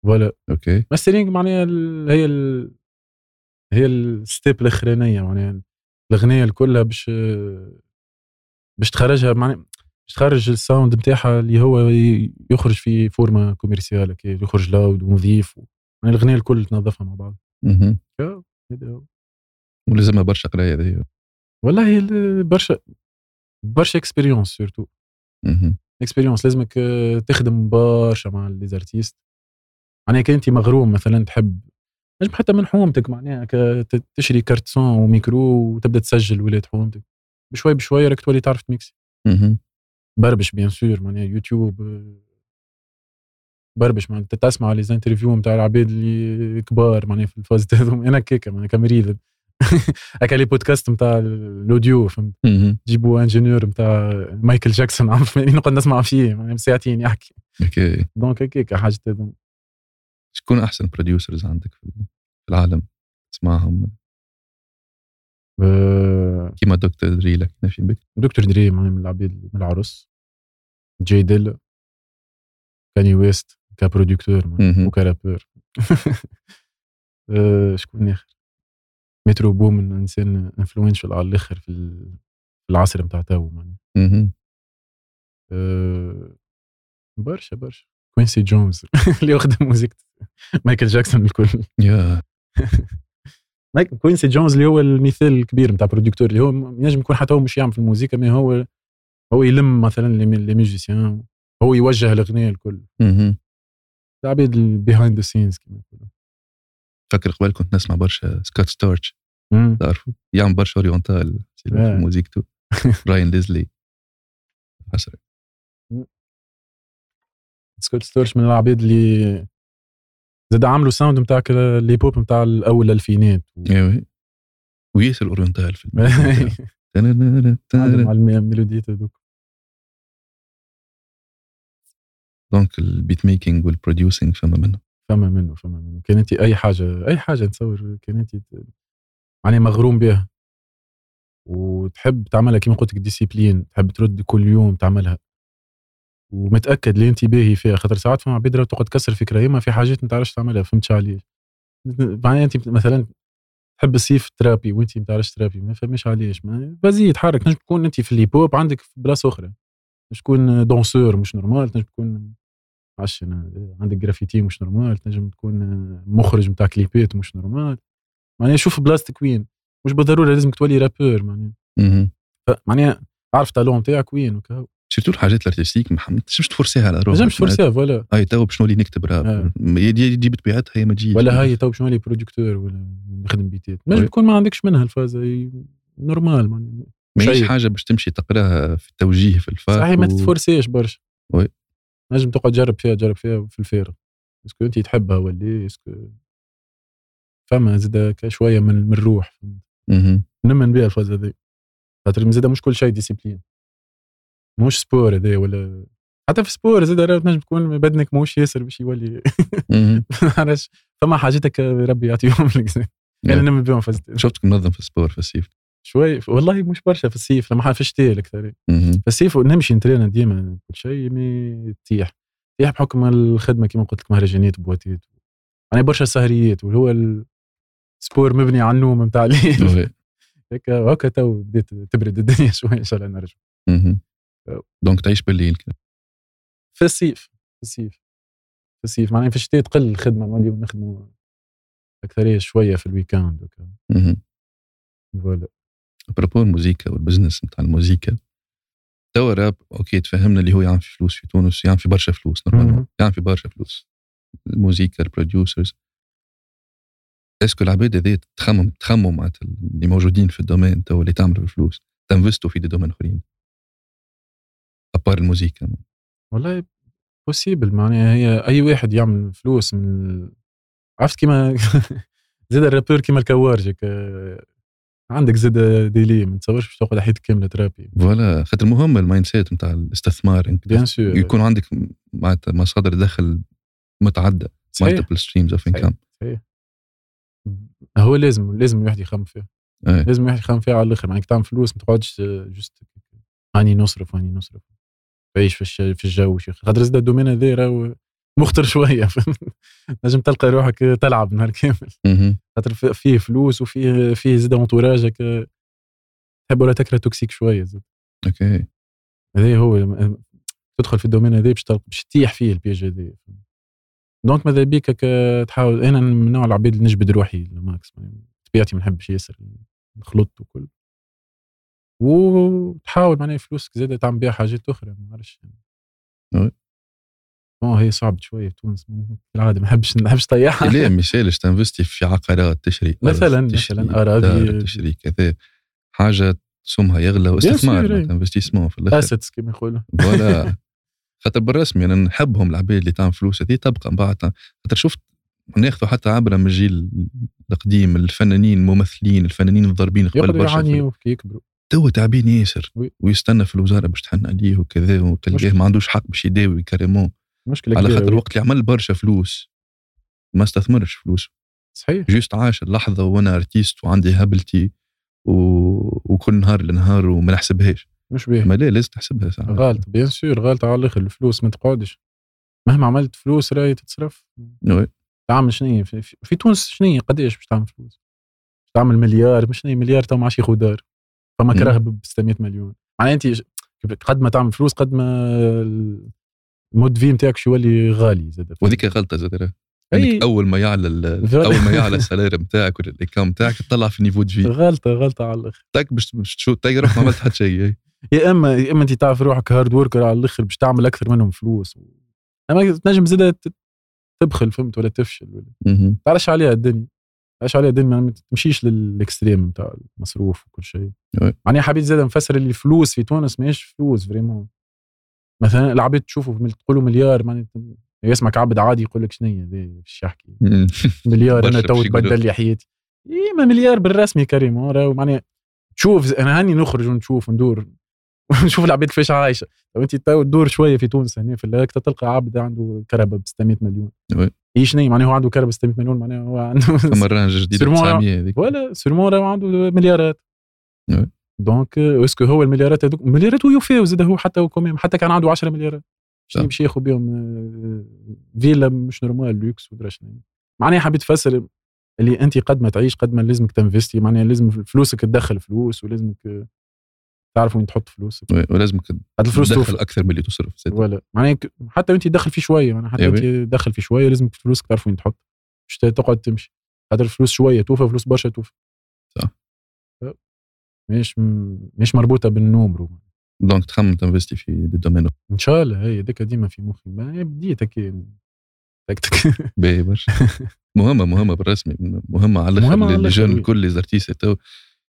Speaker 1: ولا
Speaker 2: اوكي
Speaker 1: ماسترينج معناها ال- هي ال... هي الستيب الاخرانيه معناها الاغنيه الكلها باش باش تخرجها معناها باش تخرج الساوند نتاعها اللي هو ي- يخرج في فورما كوميرسيال هكا، يخرج لاود ونظيف معناها الاغنيه الكل تنظفها مع بعض
Speaker 2: مهم.
Speaker 1: هذا هو.
Speaker 2: ولازمها برشا قرايه هذه
Speaker 1: والله ال- برشا برشا اكسبيريونس سورتو
Speaker 2: مهم.
Speaker 1: اكسبيريونس لازمك آه، تخدم برشا مع ليزارتيست معناها كان انت مغروم مثلا تحب نجم حتى من حومتك معناها ك- ت- تشري كارتسون وميكرو وتبدا تسجل ولاد حومتك بشوي بشوي راك تولي تعرف تميكسي
Speaker 2: مهم.
Speaker 1: بربش بيان سور معناها يوتيوب آه، بربش معناها ت- تسمع لي زانترفيو نتاع العباد اللي كبار معناها في الفاز هذوما انا كيكا معناها كمريض [laughs] هكا لي بودكاست نتاع الاوديو فهمت
Speaker 2: مهم.
Speaker 1: جيبوا انجينيور نتاع مايكل جاكسون يعني عم نقعد نسمع فيه معناها ساعتين يعني يحكي
Speaker 2: اوكي
Speaker 1: دونك هكاك حاجه هذوما
Speaker 2: شكون احسن بروديوسرز عندك في العالم تسمعهم
Speaker 1: آه،
Speaker 2: كيما دكتور دري لك نافين بك
Speaker 1: دكتور دري معناها من العبيد من العرس جي ديل كاني ويست كبروديكتور معناها.
Speaker 2: مهم.
Speaker 1: وكرابور [laughs] آه، شكون اخر مترو بومن انسان انفلونشال على الاخر في ال- في العصر نتاع تو معناها
Speaker 2: مهم.
Speaker 1: آه، برشا برشا كوينسي جونز [laughs] اللي واخد موزيك مايكل جاكسون الكل
Speaker 2: يا
Speaker 1: مايكل كوينسي جونز اللي هو المثال الكبير نتاع بروديكتور اللي هو م- ينجم يكون حتى هو مش يعمل في الموسيقى مي هو هو يلم مثلا لي ميوزيسيان هو يوجه الاغنيه الكل
Speaker 2: مهم.
Speaker 1: العباد البيهايند ذا سينز كما يقولوا
Speaker 2: فكر قبل كنت نسمع برشا سكوت ستارتش
Speaker 1: مم.
Speaker 2: تعرفوا يعمل برشا اوريونتال في
Speaker 1: آه.
Speaker 2: موزيكتو راين ليزلي حسن
Speaker 1: سكوت ستورش من العباد اللي زاد عملوا ساوند نتاع الهيب هوب نتاع الاول الالفينات
Speaker 2: إيه وي. وياسر اوريونتال في
Speaker 1: عندهم
Speaker 2: الموسيقى.
Speaker 1: على الميلوديات هذوك
Speaker 2: دونك البيت ميكينغ والبروديوسينغ فما منه
Speaker 1: فما منه فما منه كان انت اي حاجه اي حاجه نتصور كان انت ت- معناها مغروم بها وتحب تعملها كما قلت لك ديسيبلين تحب ترد كل يوم تعملها ومتاكد اللي انت باهي فيها خاطر ساعات فما عباد راهو تقعد تكسر في كرايمها في حاجات ما تعرفش تعملها فهمتش علاش معناها انت مثلا تحب الصيف ترابي وانت ما تعرفش ترابي ما فهمش علاش ما- بازي تحرك تنجم تكون انت في الهيبوب عندك في بلاصه اخرى تنجم تكون دونسور مش نورمال تنجم تكون معرفش انا عندك جرافيتي مش نورمال تنجم تكون مخرج نتاع كليبات مش نورمال معناها شوف بلاصتك وين مش بالضروره لازمك تولي رابور معناها
Speaker 2: مهم.
Speaker 1: ف- معناها عارف التالون نتاعك وين وكا
Speaker 2: سيرتو الحاجات الارتستيك ما تنجمش تفرسيها على
Speaker 1: ما
Speaker 2: روحك
Speaker 1: نجمش فرصه ولا
Speaker 2: هاي تو باش نولي نكتب راب
Speaker 1: آه.
Speaker 2: هي دي دي بطبيعتها هي ما تجيش
Speaker 1: ولا هاي تو باش نولي بروديكتور ولا نخدم بيتات
Speaker 2: وي.
Speaker 1: نجم تكون ما عندكش منها الفازه هي نورمال معناها
Speaker 2: ماهيش
Speaker 1: شيء.
Speaker 2: حاجه باش تمشي تقراها في التوجيه في الفاق
Speaker 1: صحيح ما
Speaker 2: و-
Speaker 1: تتفرسيش برشا
Speaker 2: وي.
Speaker 1: نجم تقعد تجرب فيها تجرب فيها في الفارغ اسكو انت تحبها ولا إيه؟ اسكو فما زاد شويه من من الروح
Speaker 2: مهم.
Speaker 1: نمن بها الفازة هذي خاطر زاد مش كل شيء ديسيبلين مش سبور هذا ولا حتى في سبور زاد راه تنجم تكون بدنك موش ياسر باش يولي [laughs]
Speaker 2: مهم. [laughs]
Speaker 1: ما نعرفش فما حاجتك ربي يعطيهم [laughs] لك زاد. انا
Speaker 2: Yeah.
Speaker 1: نمن بهم فازت
Speaker 2: شفتك منظم في السبور في الصيف
Speaker 1: شوي والله مش برشا في الصيف لما حا- في الشتاء الاكثر
Speaker 2: مهم.
Speaker 1: في الصيف نمشي نترينا ديما كل شيء مي تيح تيح بحكم الخدمه كما قلت لك مهرجانات وبواتات انا برشا سهريات وهو السبور مبني على النوم نتاع الليل
Speaker 2: وي.
Speaker 1: هكا هكا تو بدات تبرد الدنيا [laughs] شوي ان شاء الله نرجع
Speaker 2: مهم.
Speaker 1: آه.
Speaker 2: دونك تعيش بالليل
Speaker 1: في الصيف في الصيف في الصيف معناها في الشتاء تقل الخدمه نوليو نخدموا اكثريه شويه في الويكاند وكا
Speaker 2: مهم.
Speaker 1: فوالا
Speaker 2: ابروبو الموزيكا والبزنس نتاع الموزيكا توا راب اوكي تفهمنا اللي هو يعمل في فلوس في تونس يعمل في برشا فلوس نورمالمون
Speaker 1: مهم.
Speaker 2: يعمل في برشا فلوس الموزيكا البروديوسرز اسكو العباد هذي تخمم تخمم معناتها اللي موجودين في الدومين توا اللي تعملوا في الفلوس تنفستوا في دي دومين اخرين ابار الموزيكا
Speaker 1: والله بوسيبل معناها هي اي واحد يعمل فلوس من ال- عرفت كيما [laughs] زاد الرابور كيما الكوارج هكا. عندك زاد ديلي ما تصورش باش تاخذ حياتك كامله ترابي
Speaker 2: فوالا خاطر مهم المايند سيت نتاع الاستثمار انك
Speaker 1: بيان سور
Speaker 2: يكون عندك معناتها مصادر دخل متعدده
Speaker 1: صحيح.
Speaker 2: مالتيبل ستريمز اوف
Speaker 1: صحيح.
Speaker 2: انكم
Speaker 1: آه، هو لازم لازم الواحد يخمم فيها
Speaker 2: إيه.
Speaker 1: لازم الواحد يخمم فيها على الاخر معناها تعمل فلوس ما تقعدش آه، جست هاني نصرف هاني نصرف تعيش في الش- في الجو شيخ خاطر زاد الدومين هذا راهو مخطر [laughs] شويه فهمت؟ نجم تلقى روحك تلعب نهار كامل خاطر في- فيه فلوس وفيه فيه زاد انتوراجك آه، تحب ولا تكره توكسيك شويه زاد
Speaker 2: اوكي
Speaker 1: هذا هو لما- تدخل في الدومين هذا باش تلقى- باش تطيح فيه البيج هذا دونك ماذا بيك هكا تحاول انا من نوع العباد اللي نجبد روحي للماكس طبيعتي ما نحبش ياسر الخلط وكل وتحاول معناها فلوسك زادة تعمل بها حاجات اخرى ما نعرفش
Speaker 2: وي.
Speaker 1: اه هي صعبة شوية في تونس العادة ما نحبش ما نحبش نطيعها [laughs]
Speaker 2: ليه مثالش تنفستي في عقارات تشري أرض،
Speaker 1: مثلاً-
Speaker 2: تشري
Speaker 1: مثلاً أراضي.
Speaker 2: دار، تشري كذا حاجه سمها يغلى
Speaker 1: sûr،
Speaker 2: واستثمار
Speaker 1: إيه.
Speaker 2: انفستيسمون في الاخر
Speaker 1: اسيتس كما يقولوا [laughs]
Speaker 2: ولا خاطر بالرسمي انا نحبهم العباد اللي تعمل فلوس هذه تبقى من بعد خاطر شفت ناخذوا حتى عبره من الجيل القديم الفنانين الممثلين الفنانين الضاربين قبل
Speaker 1: يقدروا
Speaker 2: برشا في-
Speaker 1: يعانيوا كي يكبروا
Speaker 2: توا تعبان ياسر
Speaker 1: وي.
Speaker 2: ويستنى في الوزاره باش تحن عليه وكذا وتلقاه
Speaker 1: مشكلة.
Speaker 2: ما عندوش حق باش يداوي كاريمون
Speaker 1: مشكلة
Speaker 2: على
Speaker 1: كبيرة
Speaker 2: خاطر
Speaker 1: وي.
Speaker 2: الوقت اللي عمل برشا فلوس ما استثمرش فلوسه
Speaker 1: صحيح
Speaker 2: جوست عاش اللحظه وانا ارتيست وعندي هبلتي و... وكل نهار لنهار وما نحسبهاش
Speaker 1: مش به
Speaker 2: ما لا لازم تحسبها ساعات
Speaker 1: غالطه بيان سور غالطه على الاخر الفلوس ما تقعدش مهما عملت فلوس راهي تتصرف
Speaker 2: وي.
Speaker 1: تعمل شنو في, في- في تونس شنو قداش باش تعمل فلوس باش تعمل مليار مش شنو مليار تو معاش ياخذ دار فما
Speaker 2: مم.
Speaker 1: كراه ب 600 مليون معناها انت ج- قد ما تعمل فلوس قد ما المود في نتاعك شو يولي غالي زاد يعني
Speaker 2: وهذيك غلطه زاد راه.
Speaker 1: أي.
Speaker 2: انك اول ما
Speaker 1: [laughs]
Speaker 2: يعلى ال-
Speaker 1: فوالا.
Speaker 2: اول ما يعلى السالير نتاعك ولا الاكام نتاعك تطلع في نيفو دي في
Speaker 1: غلطه غلطه على الاخر
Speaker 2: تاك باش باش تشوف تعرف ما عملت حتى شيء
Speaker 1: يا اما يا اما انت تعرف روحك هارد وركر على الاخر باش تعمل اكثر منهم فلوس اما تنجم زاد تبخل فهمت ولا تفشل ولا
Speaker 2: مهم.
Speaker 1: تعرفش عليها الدنيا تعرفش عليها الدنيا ما تمشيش للاكستريم نتاع المصروف وكل شيء
Speaker 2: أي.
Speaker 1: معناها حبيت زاد نفسر اللي الفلوس في تونس ماهيش فلوس فريمون مثلا العباد تشوفوا مل- تقولوا مليار معناتها يسمعك عبد عادي يقول لك شنو هذا باش يحكي
Speaker 2: [laughs] مهم.
Speaker 1: مليار انا
Speaker 2: برشا
Speaker 1: تو
Speaker 2: باش يقولوا.
Speaker 1: تبدل لي حياتي إيه ما مليار بالرسمي كريم آه، راهو معناها تشوف ز- انا هاني نخرج ونشوف وندور [laughs] ونشوف العباد كيفاش عايشه لو انت تو تدور شويه في تونس هنا في الهكتا تلقى عبد عنده كربه ب 600 مليون
Speaker 2: وي.
Speaker 1: ايش شنو معناها هو عنده كربه 600 مليون معناها هو
Speaker 2: فما
Speaker 1: عنده
Speaker 2: الرانج جديد
Speaker 1: سيرمون
Speaker 2: 900 هذيك
Speaker 1: ولا سيرمون راهو عنده مليارات
Speaker 2: وي.
Speaker 1: دونك آه، اسكو هو المليارات هذوك مليارات ويوفيو زاد هو حتى هو كوميم حتى كان عنده 10 مليارات شنو
Speaker 2: صح.
Speaker 1: يمشي ياخذ بهم آه، فيلا مش نورمال لوكس ودرا شنو معناها حبيت تفسر اللي انت قد ما تعيش قد ما لازمك تنفستي معناها لازم فلوسك تدخل فلوس ولازمك آه، تعرف وين تحط فلوسك
Speaker 2: وي. ولازمك
Speaker 1: قد الفلوس
Speaker 2: تدخل
Speaker 1: توفر
Speaker 2: اكثر من اللي تصرف زاد.
Speaker 1: ولا معناها ك- حتى وانت تدخل في شويه معناها حتى
Speaker 2: إيه
Speaker 1: انت تدخل في شويه لازمك فلوسك تعرف وين تحط مش ت- تقعد تمشي خاطر الفلوس شويه توفى فلوس برشا توفى
Speaker 2: صح.
Speaker 1: ف- مش م- مش مربوطه بالنومرو
Speaker 2: دونك تخمم تنفستي في دي دومين
Speaker 1: ان شاء الله هي هذاك ديما في مخي ما بديت هكا تك
Speaker 2: [laughs]
Speaker 1: تك [laughs]
Speaker 2: باهي برشا مهمه مهمه بالرسمي مهمه على
Speaker 1: مهمة على
Speaker 2: الاخر
Speaker 1: الآخر،
Speaker 2: للجون
Speaker 1: وي.
Speaker 2: الكل ليزارتيست تو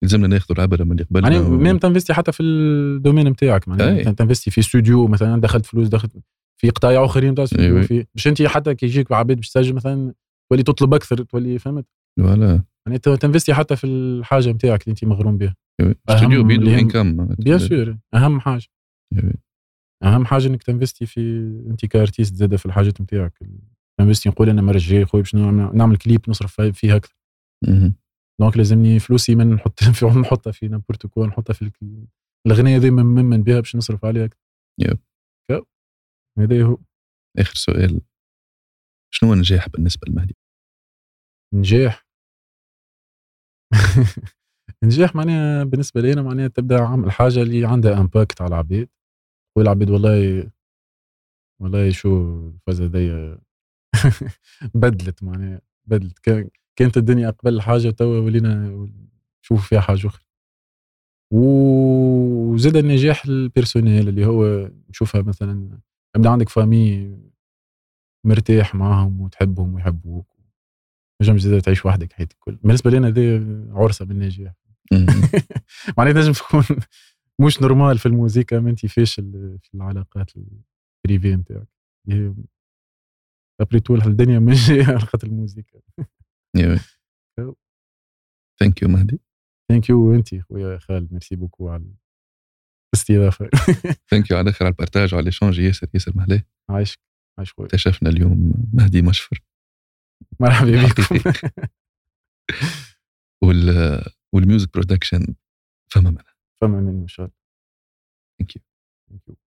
Speaker 2: يلزمنا ناخذوا العبره من اللي قبلنا
Speaker 1: يعني
Speaker 2: و-
Speaker 1: ميم تنفستي حتى في الدومين نتاعك معناها
Speaker 2: أي.
Speaker 1: تنفستي في استوديو مثلا دخلت فلوس دخلت في قطايع اخرين نتاع
Speaker 2: إيه
Speaker 1: استوديو
Speaker 2: وي.
Speaker 1: في باش انت حتى كي يجيك عباد باش تسجل مثلا تولي تطلب اكثر تولي فهمت
Speaker 2: فوالا
Speaker 1: يعني ت- تنفستي حتى في الحاجه نتاعك اللي انت مغروم بها
Speaker 2: استوديو بيدو
Speaker 1: اللي هم-
Speaker 2: انكم
Speaker 1: بيان سور اهم حاجه
Speaker 2: إيه.
Speaker 1: اهم حاجه انك تنفستي في انت كارتيست زاده في الحاجات نتاعك تنفستي نقول انا مرة الجاي خويا باش نعمل, نعمل كليب نصرف فيه- فيه اكثر دونك لازمني فلوسي من نحط [laughs] في نحطها في نابورت كوا نحطها في الك- الغنية هذه من من بها باش نصرف عليها اكثر
Speaker 2: يب.
Speaker 1: يب. هذا هو
Speaker 2: اخر سؤال شنو هو النجاح بالنسبه لمهدي؟
Speaker 1: نجاح [laughs] نجاح معناها بالنسبه لينا معناها تبدا عامل حاجه اللي عندها امباكت على العباد تقول العباد والله والله شو الفاز هذيا [laughs] بدلت معناها بدلت كان- كانت الدنيا قبل حاجه توا ولينا نشوف فيها حاجه اخرى و- وزاد النجاح البيرسونيل اللي هو نشوفها مثلا يبدا عندك فامي مرتاح معاهم وتحبهم ويحبوك نجم زاد تعيش وحدك حياتك كل بالنسبه لنا ذي عرسه بالنجاح [laughs]
Speaker 2: مهم.
Speaker 1: معناتها نجم تكون [laughs] مش نورمال في الموسيقى ما انت فاشل في العلاقات البريفي نتاعك ابري طول الدنيا مش [laughs] علاقات الموسيقى
Speaker 2: يا وي. ثانك يو مهدي
Speaker 1: ثانك يو انت خويا خالد ميرسي بوكو على الاستضافه
Speaker 2: ثانك يو على الاخر على البارتاج وعلى ليشونج ياسر ياسر مهلاه
Speaker 1: [laughs] عايشك عايش خويا
Speaker 2: اكتشفنا اليوم مهدي مشفر
Speaker 1: مرحبا بكم
Speaker 2: وال والميوزك برودكشن فما منها
Speaker 1: فما من ان شاء الله
Speaker 2: Thank you.
Speaker 1: Thank you.